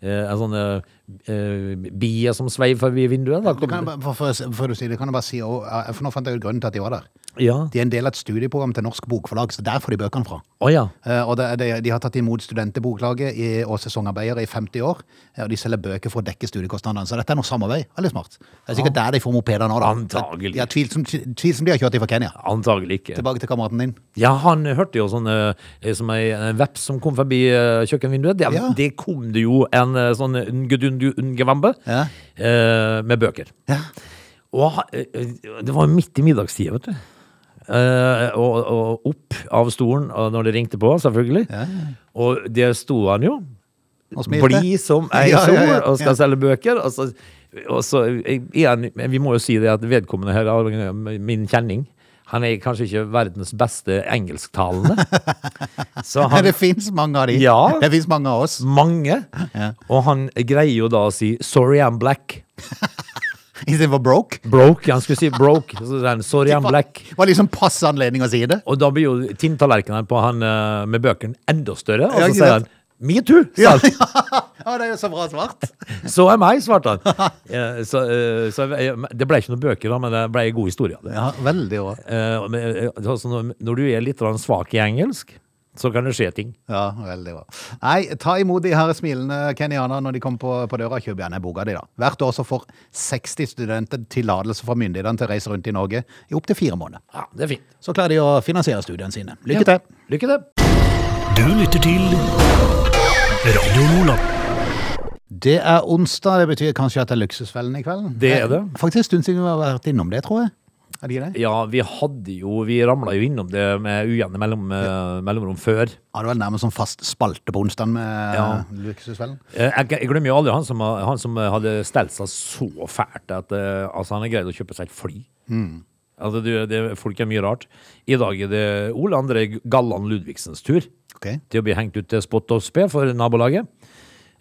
Speaker 2: eh, en sånn eh, eh, bie som sveiv forbi vinduet. Da
Speaker 1: Du
Speaker 2: kom,
Speaker 1: kan, bare- for, for, for du sier det, kan jeg bare si, og, ja, for nå fant jeg ut grunnen til at de var der.
Speaker 2: ja.
Speaker 1: De er en del av et studieprogram til Norsk Bokforlag, så der får de bøkene fra.
Speaker 2: Å ja.
Speaker 1: Eh, Og det, det, de har tatt imot studenteboklaget i, og sesongarbeidere i 50 år, eh, og de selger bøker for å dekke studiekostnadene. Så dette er noe samarbeid. Veldig smart. Det er sikkert der de får mopeder nå, da.
Speaker 2: Antagelig.
Speaker 1: Ja, tvilsomt tvilsomt de har kjørt de fra Kenya.
Speaker 2: Antagelig ikke.
Speaker 1: Tilbake til kameraten din.
Speaker 2: Ja, han hørte jo sånn eh, som ei en veps som kom forbi eh, kjøkkenvinduet. Det,
Speaker 1: Ja.
Speaker 2: det kom det jo en eh, sånn ungedundungevambe
Speaker 1: Ja.
Speaker 2: eh, med bøker.
Speaker 1: Ja.
Speaker 2: Og ha- eh, eh, det var midt i middagstida, vet du. Eh, og, og opp av stolen og når det ringte på, selvfølgelig. Og der sto han jo.
Speaker 1: Og smilte.
Speaker 2: Blid som ei
Speaker 1: Ja,
Speaker 2: sol
Speaker 1: ja, ja,
Speaker 2: og skal
Speaker 1: ja.
Speaker 2: selge bøker. Og så, og så eh, igjen, men vi må jo si det at vedkommende her, eh, min kjenning, han er kanskje ikke verdens beste engelsktalende. Så han
Speaker 1: det fins mange av de.
Speaker 2: Ja.
Speaker 1: Det fins mange av oss.
Speaker 2: mange. Og han greier jo da å si 'sorry, I'm black'.
Speaker 1: Istedenfor broke.
Speaker 2: Broke. Han skulle si 'broke'. Så sier han 'sorry, I'm black'.
Speaker 1: Det var liksom passe anledning å si det.
Speaker 2: Og da blir jo tinntallerkenen på han eh, med bøkene enda større, og
Speaker 1: Ja,
Speaker 2: så
Speaker 1: ikke
Speaker 2: sier han
Speaker 1: sant?
Speaker 2: Metoo! Ja.
Speaker 1: Ja, det er jo så bra svart.
Speaker 2: Så er meg, svarte han. Eh, Så, eh, så jeg- det ble ikke noen bøker, da, men det ble en god historie. av det.
Speaker 1: Ja, veldig bra.
Speaker 2: Eh, men, eh, altså, når- når du er litt grann svak i engelsk, så kan det skje ting.
Speaker 1: Ja, veldig bra. Nei, ta imot de her smilende kenyanerne når de kommer på, på døra. Kjøp gjerne boka di, da. Hvert år så får 60 studenter tillatelse fra myndighetene til å reise rundt i Norge i opptil fire måneder.
Speaker 2: Ja, det er fint.
Speaker 1: Så klarer de å finansiere studiene sine. Lykke til!
Speaker 2: Lykke til.
Speaker 3: Du lytter til Radio Lola.
Speaker 1: Det er onsdag, det betyr kanskje at det er luksusfellen i kveld?
Speaker 2: Det er det.
Speaker 1: Eh, Faktisk en stund siden vi har vært innom det, tror jeg. Er det ikke det?
Speaker 2: Ja, vi hadde jo Vi ramla jo innom det med ujevne mellom, eh, mellomrom før.
Speaker 1: Ja, det var nærmest sånn fast spalte på onsdagen med
Speaker 2: Ja.
Speaker 1: luksusfellen.
Speaker 2: Eh, Jeg jeg glemmer jo aldri han som, han som hadde stelt seg så fælt at eh, altså, han har greid å kjøpe seg et fly. Altså, det, det, folk er mye rart. I dag er det Ole André Galland Ludvigsens tur
Speaker 1: Ok.
Speaker 2: til å bli hengt ut til spott og spe for nabolaget.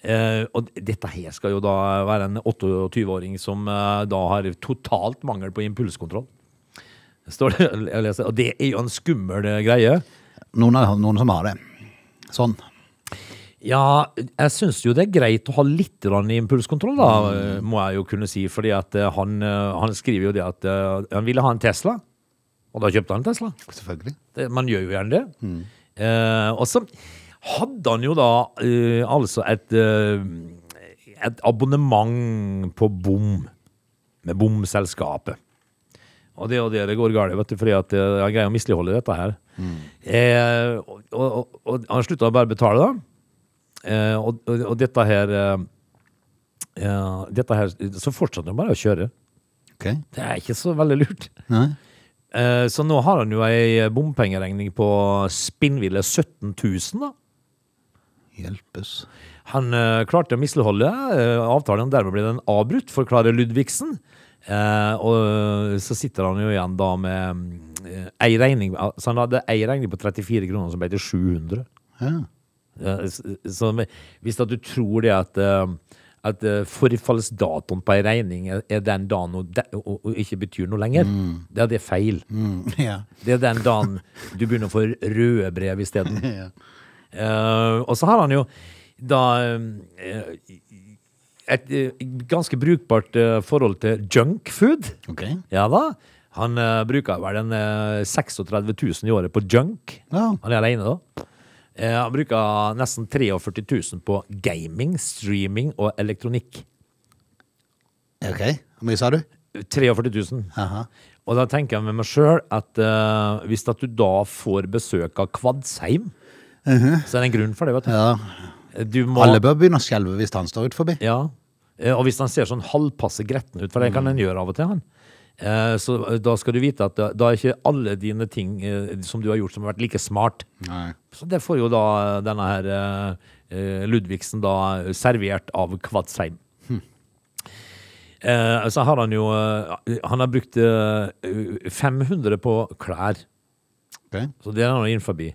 Speaker 2: Eh, og dette her skal jo da være en 28-åring som eh, da har totalt mangel på impulskontroll. Står det, jeg leser, og det er jo en skummel eh, greie.
Speaker 1: Noen, har- noen som har det. Sånn.
Speaker 2: Ja, jeg syns jo det er greit å ha litt grann impulskontroll, da, eh, må jeg jo kunne si. Fordi at eh, han, eh, han skriver jo det at eh, han ville ha en Tesla, og da kjøpte han en Tesla.
Speaker 1: Selvfølgelig.
Speaker 2: Det, man gjør jo gjerne det. Eh, og så hadde han jo da eh, altså et, eh, et abonnement på bom, med bomselskapet. Og det er jo det det går galt i, vet du, fordi at eh, han greier å misligholde dette her. Eh, og, og, og han slutta å bare betale, da. Eh, og, og, og dette her eh, eh, Dette her Så fortsatte han bare å kjøre.
Speaker 1: Ok.
Speaker 2: Det er ikke så veldig lurt.
Speaker 1: Nei.
Speaker 2: Eh, Så nå har han jo ei eh, bompengeregning på spinnville 17 000, da.
Speaker 1: Hjelpes.
Speaker 2: Han eh, klarte å misligholde eh, avtalen, dermed ble den avbrutt, forklarer Ludvigsen. Eh, og så sitter han jo igjen da med eh, ei regning Så han hadde ei regning på 34 kroner som ble til 700.
Speaker 1: Ja.
Speaker 2: Ja, s- så men hvis at du tror det at eh, at eh, forfallsdatoen på ei regning er er den dagen hun de- og, og ikke betyr noe lenger. Det er det feil.
Speaker 1: ja.
Speaker 2: Det er den dagen du begynner å få røde brev isteden.
Speaker 1: Ja.
Speaker 2: Eh, og så har han jo da eh, et eh, ganske brukbart eh, forhold til junkfood.
Speaker 1: Ok.
Speaker 2: Ja da. Han eh, bruker vel en eh, 36 000 i året på junk.
Speaker 1: Ja.
Speaker 2: Han er alene, da. Eh, han bruker nesten 43 000 på gaming, streaming og elektronikk. Eh,
Speaker 1: Ok. Hvor mye sa du?
Speaker 2: 43 000.
Speaker 1: Aha.
Speaker 2: Og da tenker jeg med meg sjøl at eh, hvis at du da får besøk av Kvadsheim, så er det en grunn for det, vet du. Eh,
Speaker 1: Ja.
Speaker 2: du må,
Speaker 1: Alle bør begynne å skjelve hvis han står ut forbi.
Speaker 2: Ja, eh, og hvis han ser sånn halvpasse gretten ut, for det kan han gjøre av og til, han. Eh, Så eh, da skal du vite at da- da er ikke alle dine ting eh, som du har gjort som har vært like smart.
Speaker 1: Nei.
Speaker 2: Så det får jo da eh, denne her eh, eh, Ludvigsen da eh, servert av Kvadsheim. Eh, Så har han jo eh, Han har brukt eh, 500 på klær.
Speaker 1: Ok.
Speaker 2: Så det er han inn forbi.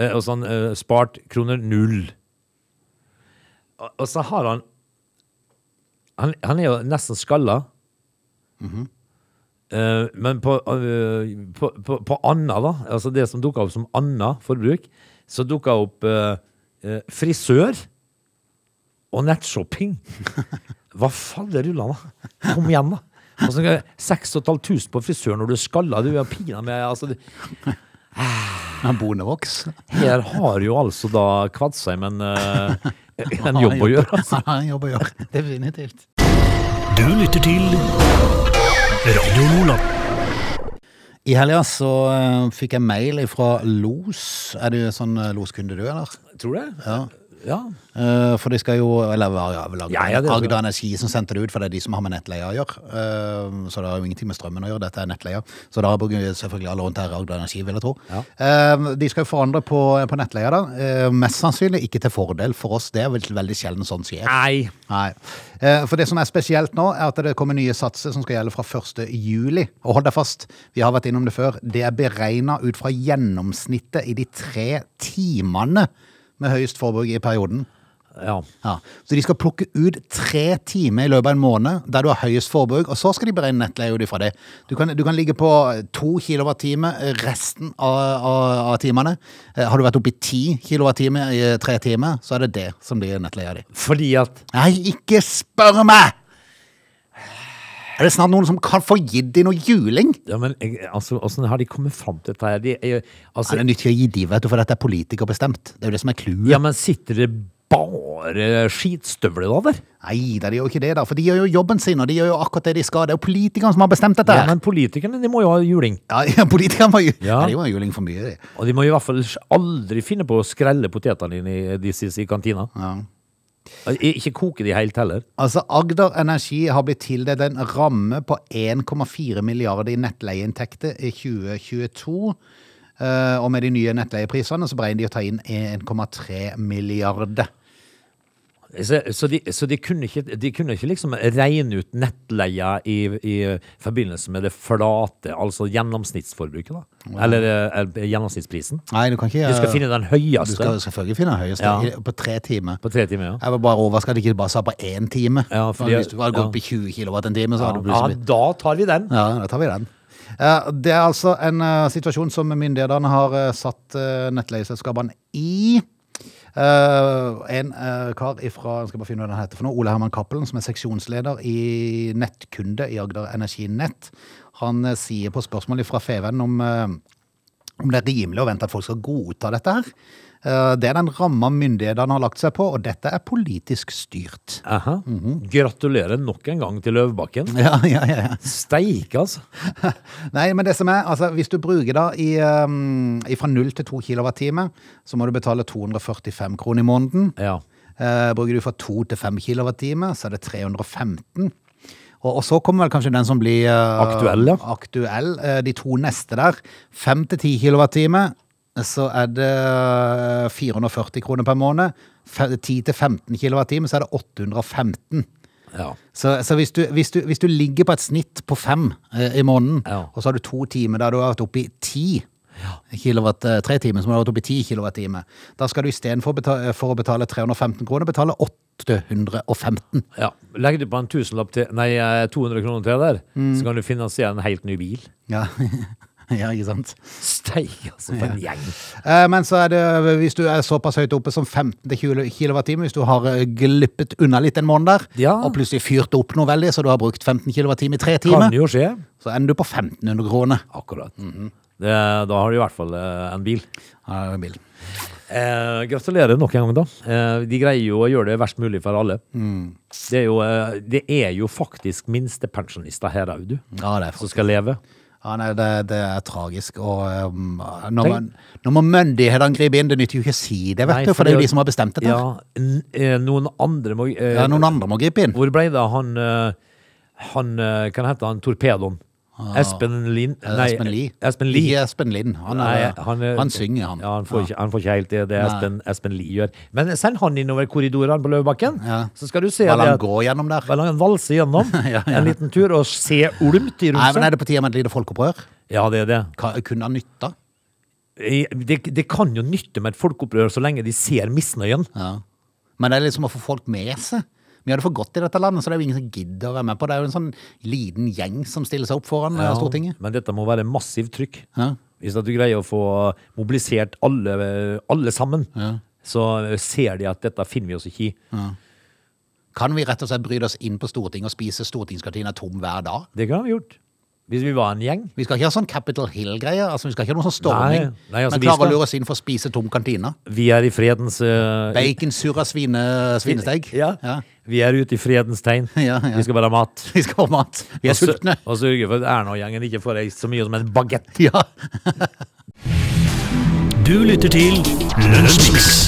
Speaker 2: Eh, og så har han eh, spart kroner null. Og, og så har han Han, han er jo nesten skalla. Eh, men på, eh, på, på, på Anna, da, altså det som dukka opp som Anna forbruk, så dukka opp eh, eh, frisør og nettshopping. Hva faller rullene? Kom igjen, da. Og så 6500 på frisør når du er skalla. Du er pinadø med altså, det-
Speaker 1: Han Bonevoks.
Speaker 2: her har jo altså da Kvadsheim en, eh, en jobb å gjøre. altså.
Speaker 1: Han har en jobb å gjøre. Definitivt.
Speaker 3: Du lytter til Radio Nordland.
Speaker 1: I helga så eh, fikk jeg mail fra Los. Er du sånn eh, loskunde du, eller?
Speaker 2: Tror du det?
Speaker 1: Ja.
Speaker 2: Ja.
Speaker 1: Eh, for de skal jo Eller var ja, vel Agder,
Speaker 2: Ja, ja, det-
Speaker 1: Agder Energi som sendte det ut, for det er de som har med nettleie å gjøre. Eh, så det har jo ingenting med strømmen å gjøre, dette er nettleie. Så da bruker vi selvfølgelig alle rundt her Agder Energi, vil jeg tro.
Speaker 2: Ja.
Speaker 1: Eh, de skal jo forandre på, på nettleia, da. Eh, mest sannsynlig ikke til fordel for oss, det er vel veldig sjelden sånn skjer.
Speaker 2: Nei.
Speaker 1: Nei. Eh, For det som er spesielt nå, er at det kommer nye satser som skal gjelde fra 1. juli. Og hold deg fast, vi har vært innom det før. Det er beregna ut fra gjennomsnittet i de tre timene med høyest forbruk i perioden.
Speaker 2: Ja.
Speaker 1: Ja. Så de skal plukke ut tre timer i løpet av en måned der du har høyest forbruk, og så skal de beregne nettleie ut ifra det. Du kan, du kan ligge på to kilowattime resten av, av, av timene. Eh, Har du vært oppe i ti kilowattime i eh, tre timer, så er det det som blir nettleia di.
Speaker 2: Fordi at
Speaker 1: Nei, ikke spør meg! Er det snart noen som kan få gitt de noe juling?
Speaker 2: ja, men, jeg- altså, Åssen har de kommet fram til dette? her? De, er- altså,
Speaker 1: Er det nyttig å gi de, vet du, for dette er politikerbestemt. Det er jo det som er clouet.
Speaker 2: ja, men sitter det bare skitstøvler da der?
Speaker 1: Nei, da, de gjør jo ikke det, da. For de gjør jo jobben sin, og de gjør jo akkurat det de skal. Det er jo politikerne som har bestemt dette.
Speaker 2: Ja,
Speaker 1: her.
Speaker 2: men politikerne de må jo ha juling.
Speaker 1: Ja, ja politikerne var, ju
Speaker 2: Ja.
Speaker 1: Nei, de var juling for mye, de.
Speaker 2: Og de må i hvert fall aldri finne på å skrelle potetene dine i, eh, de siste i kantina. Eh,
Speaker 1: Ja.
Speaker 2: Ikke koke de helt heller.
Speaker 1: Altså, Agder Energi har blitt tildelt en ramme på 1,4 milliarder i nettleieinntekter i 2022. Eh, og med de nye nettleieprisene så beregner de å ta inn 1,3 milliarder.
Speaker 2: Så, så, de, så de, kunne ikke, de kunne ikke liksom regne ut nettleia i, i forbindelse med det flate, altså gjennomsnittsforbruket, da? Eller, eh, gjennomsnittsprisen?
Speaker 1: Nei, du kan ikke eh,
Speaker 2: Du skal finne den
Speaker 1: Du
Speaker 2: høyeste
Speaker 1: skal selvfølgelig finne den høyeste
Speaker 2: Ja.
Speaker 1: i- på tre timer.
Speaker 2: på tre timer, ja.
Speaker 1: Jeg var bare overrasket at de ikke bare sa på én time.
Speaker 2: Ja, fordi-
Speaker 1: Hvis du hadde gått
Speaker 2: ja.
Speaker 1: opp i 20 kilowatt en time, så hadde du
Speaker 2: Ja,
Speaker 1: plutselig
Speaker 2: da tar vi den!
Speaker 1: Ja, da tar vi den. Eh, Det er altså en eh, situasjon som myndighetene har eh, satt eh, nettleieselskapene i. Eh, en eh, kar ifra jeg skal bare finne hva den heter for noe, Ole Herman Cappelen, som er seksjonsleder i Nettkunde i Agder Energi Nett, han eh, sier på spørsmålet fra Feven om eh, om det er rimelig å vente at folk skal godta dette her. Eh, Det er den ramma myndighetene har lagt seg på, og dette er politisk styrt.
Speaker 2: Aha. Mhm.
Speaker 1: Mhm.
Speaker 2: Gratulerer nok en gang til Løvbakken.
Speaker 1: Ja, ja, ja, ja.
Speaker 2: Steike, altså!
Speaker 1: Nei, men det som er, altså hvis du bruker da i, um, fra 0 til 2 kilowattime, så må du betale 245 kroner i måneden.
Speaker 2: Ja.
Speaker 1: Eh, bruker du fra 2 til 5 kilowattime, så er det 315. Og, og så kommer vel kanskje den som blir eh,
Speaker 2: Aktuell, ja.
Speaker 1: aktuell, eh, de to neste der. 5 til 10 kilowattime, så er det eh, 440 kroner per måned. Fe- 10 til 15 kilowattime, så er det 815.
Speaker 2: Ja.
Speaker 1: Så, så hvis, du, hvis, du, hvis du ligger på et snitt på fem eh, i måneden,
Speaker 2: Ja.
Speaker 1: og så har du to timer der du har vært oppe i ti kilowatt, eh, tre timer, som har vært oppe i ti kilowatt-timer, da skal du istedenfor beta- eh, for å betale 315 kroner, betale 815.
Speaker 2: ja. Legger du på en tusenlapp til, nei, eh, 200 kroner til der,
Speaker 1: Mm.
Speaker 2: så kan du finansiere en helt ny bil.
Speaker 1: Ja, ja ikke sant?
Speaker 2: Steik, altså, for en gjeng.
Speaker 1: Eh, Men så er det, hvis du er såpass høyt oppe som 15-20 kWt, hvis du har eh, glippet unna litt en måned der,
Speaker 2: Ja.
Speaker 1: og plutselig fyrt opp noe veldig, så du har brukt 15 kWt i tre
Speaker 2: Kan
Speaker 1: timer,
Speaker 2: jo skje.
Speaker 1: så ender du på 1500 kroner.
Speaker 2: Akkurat.
Speaker 1: Mhm.
Speaker 2: det, da har du i hvert fall eh, en bil.
Speaker 1: Ja, det er en bil.
Speaker 2: Eh, gratulerer nok en gang, da. Eh, de greier jo å gjøre det verst mulig for alle.
Speaker 1: Mm.
Speaker 2: Det, er jo, eh, det er jo faktisk minstepensjonister her òg, du,
Speaker 1: Ja, det er
Speaker 2: som skal leve.
Speaker 1: Ja, nei, det, det er tragisk. Og um, når, man, når man myndighetene griper inn, det nytter jo ikke å si det, vet
Speaker 2: Nei,
Speaker 1: du, for det er
Speaker 2: fordi-
Speaker 1: jo de som har bestemt dette. Ja.
Speaker 2: Ja, n- eh, noen andre må eh,
Speaker 1: noen andre må gripe inn.
Speaker 2: Hvor ble det av han eh, Han, eh, hva heter han, torpedoen? Espen Lind?
Speaker 1: Ah. Eh,
Speaker 2: Nei,
Speaker 1: Espen Lie.
Speaker 2: Espen Lie.
Speaker 1: Ikke Espen Lind. Han,
Speaker 2: Nei,
Speaker 1: er, han,
Speaker 2: er-
Speaker 1: synger, han.
Speaker 2: Ja, han, får ikke, han får ikke helt det, det Espen, Espen Lie gjør. Men send han innover korridorene på Løvebakken,
Speaker 1: Ja.
Speaker 2: så skal du se
Speaker 1: Hva
Speaker 2: det
Speaker 1: han
Speaker 2: at-
Speaker 1: går gjennom der.
Speaker 2: Vel, han valser gjennom en liten tur og se ulmt i
Speaker 1: Nei, men
Speaker 2: ruset.
Speaker 1: Er det på tide med et lite folkeopprør?
Speaker 2: Ja, det er det.
Speaker 1: Hva kunne han nytta?
Speaker 2: I- Det, det kan jo nytte med et folkeopprør så lenge de ser misnøyen.
Speaker 1: Ja. Men det er liksom å få folk med seg. Vi har det for godt i dette landet, så det er jo ingen som gidder å være med på. Det er jo en sånn liten gjeng som stiller seg opp foran eh, Stortinget.
Speaker 2: Men dette må være massivt trykk.
Speaker 1: Ja.
Speaker 2: Hvis at du greier å få mobilisert alle, alle sammen, så ser de at dette finner vi oss ikke i.
Speaker 1: Kan vi rett og slett bryte oss inn på Stortinget og spise stortingskantina tom hver dag?
Speaker 2: Det kunne vi gjort. Hvis vi var en gjeng.
Speaker 1: Vi skal ikke ha sånn Capitol Hill-greie. Altså, vi skal ikke ha noe sånn storming.
Speaker 2: Nei, nei, altså,
Speaker 1: men
Speaker 2: vi
Speaker 1: klarer
Speaker 2: skal-
Speaker 1: å lure oss inn for å spise tom kantina.
Speaker 2: Vi er i fredens eh,
Speaker 1: Bacon, surra svine, svinesteg.
Speaker 2: Ja.
Speaker 1: Ja.
Speaker 2: Vi er ute i fredens tegn.
Speaker 1: Ja, ja.
Speaker 2: Vi skal bare ha mat.
Speaker 1: Vi skal ha mat. Vi er
Speaker 2: Og sø-
Speaker 1: sultne.
Speaker 2: Og sørge for at Erna-gjengen ikke får ei så mye som en bagett.
Speaker 1: Ja.
Speaker 3: Du lytter til Lunsjmix.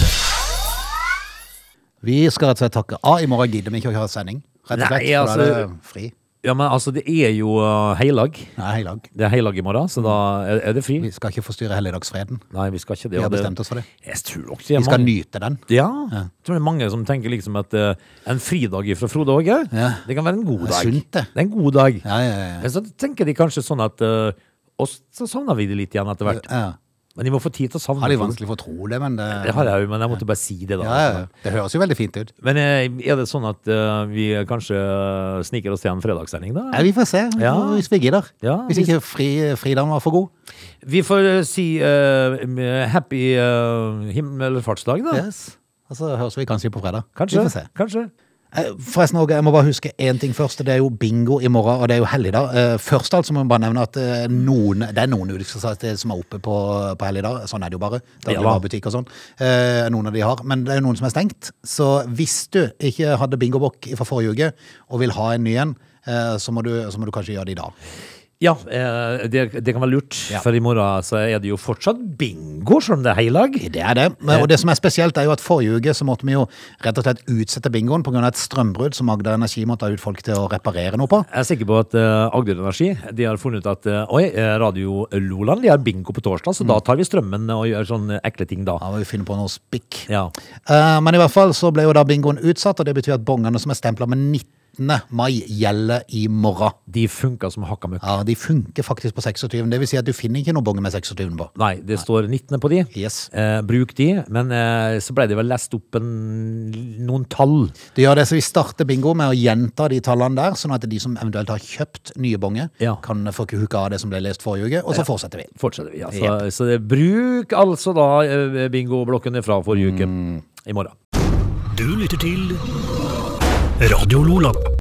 Speaker 1: Vi skal rett og slett takke av. I morgen gidder vi ikke å ha sending. Rett og slett.
Speaker 2: Nei,
Speaker 1: for da er
Speaker 2: altså-
Speaker 1: det fri.
Speaker 2: Ja, men altså, det er jo uh, heilag.
Speaker 1: Nei, i dag.
Speaker 2: Det er heilag i morgen, så da er, er det fri.
Speaker 1: Vi skal ikke forstyrre helligdagsfreden.
Speaker 2: Nei, vi skal ikke
Speaker 1: Vi
Speaker 2: det.
Speaker 1: har
Speaker 2: og det-
Speaker 1: bestemt oss for det.
Speaker 2: Jeg tror nok det er
Speaker 1: Vi skal
Speaker 2: mange.
Speaker 1: nyte den.
Speaker 2: Ja, jeg tror det er mange som tenker liksom at eh, en fridag fra Frode Åge,
Speaker 1: Ja.
Speaker 2: det kan være en
Speaker 1: Det
Speaker 2: god
Speaker 1: er
Speaker 2: dag.
Speaker 1: sunt, det.
Speaker 2: Det er en god dag.
Speaker 1: Ja, ja, ja, ja.
Speaker 2: Men så tenker de kanskje sånn at eh, Og så savner vi det litt igjen etter hvert.
Speaker 1: ja.
Speaker 2: Men de må få tid til å savne
Speaker 1: Det er litt
Speaker 2: Frode.
Speaker 1: vanskelig for å tro det, men det,
Speaker 2: Det har jeg jo, men jeg måtte bare si det, da.
Speaker 1: ja, ja. det høres jo veldig fint ut.
Speaker 2: Men eh, er det sånn at eh, vi kanskje eh, sniker oss til en fredagssending, da?
Speaker 1: Ja, vi får se
Speaker 2: Ja.
Speaker 1: hvis vi gidder.
Speaker 2: Ja,
Speaker 1: hvis
Speaker 2: hvis-
Speaker 1: ikke fri, fridagen var for god.
Speaker 2: Vi får eh, si eh, m- happy eh, himmelfartsdag, da.
Speaker 1: Yes. Og så høres vi kanskje på fredag. Vi
Speaker 2: Kanskje.
Speaker 1: får se.
Speaker 2: Kanskje.
Speaker 1: Eh, Forresten, Åge, jeg må bare huske én ting først. Det er jo bingo i morgen, og det er jo helligdag. Eh, Først altså må jeg bare nevne at eh, noen, det er noen utsalgsaktører som er oppe på, på helligdag. Sånn er det jo bare. Dagligvarebutikk og sånn. Eh, Noen av de har. Men det er jo noen som er stengt. Så hvis du ikke hadde bingobok fra forrige uke, og vil ha en ny en, eh, så må, du, så må du kanskje gjøre det i dag.
Speaker 2: Ja, eh, det, det kan være lurt,
Speaker 1: Ja.
Speaker 2: for i morgen så er det jo fortsatt bingo, selv om det er heilag.
Speaker 1: Det er det. Men- Og det som er spesielt, er jo at forrige uke så måtte vi jo rett og slett utsette bingoen pga. et strømbrudd som Agder Energi måtte ha ut folk til å reparere noe på.
Speaker 2: Jeg er sikker på at eh, Agder Energi de har funnet ut at eh, Oi, eh, Radio Loland de har bingo på torsdag, så da
Speaker 1: Mm.
Speaker 2: tar vi strømmen og gjør sånne ekle ting da.
Speaker 1: Ja, vi finner på noe spikk.
Speaker 2: Ja.
Speaker 1: Eh, men i hvert fall så ble jo da bingoen utsatt, og det betyr at bongene som er stempla med 19. mai, gjelder i morgen.
Speaker 2: De funka som hakka møkk.
Speaker 1: Ja, De funker faktisk på 26. Det vil si at du finner ikke noen bonger med 26 på.
Speaker 2: Nei, det står 19. på de.
Speaker 1: Yes.
Speaker 2: Eh, bruk de, men eh, så ble det vel lest opp en, noen tall.
Speaker 1: Det gjør det, så Vi starter bingo med å gjenta de tallene der, sånn at de som eventuelt har kjøpt nye bonger,
Speaker 2: Ja.
Speaker 1: kan få huka av det som ble lest forrige uke, og så fortsetter vi.
Speaker 2: Fortsetter vi, altså. Så det, bruk altså da eh, bingoblokken fra forrige uke i morgen.
Speaker 3: Du lytter til Radio Lola.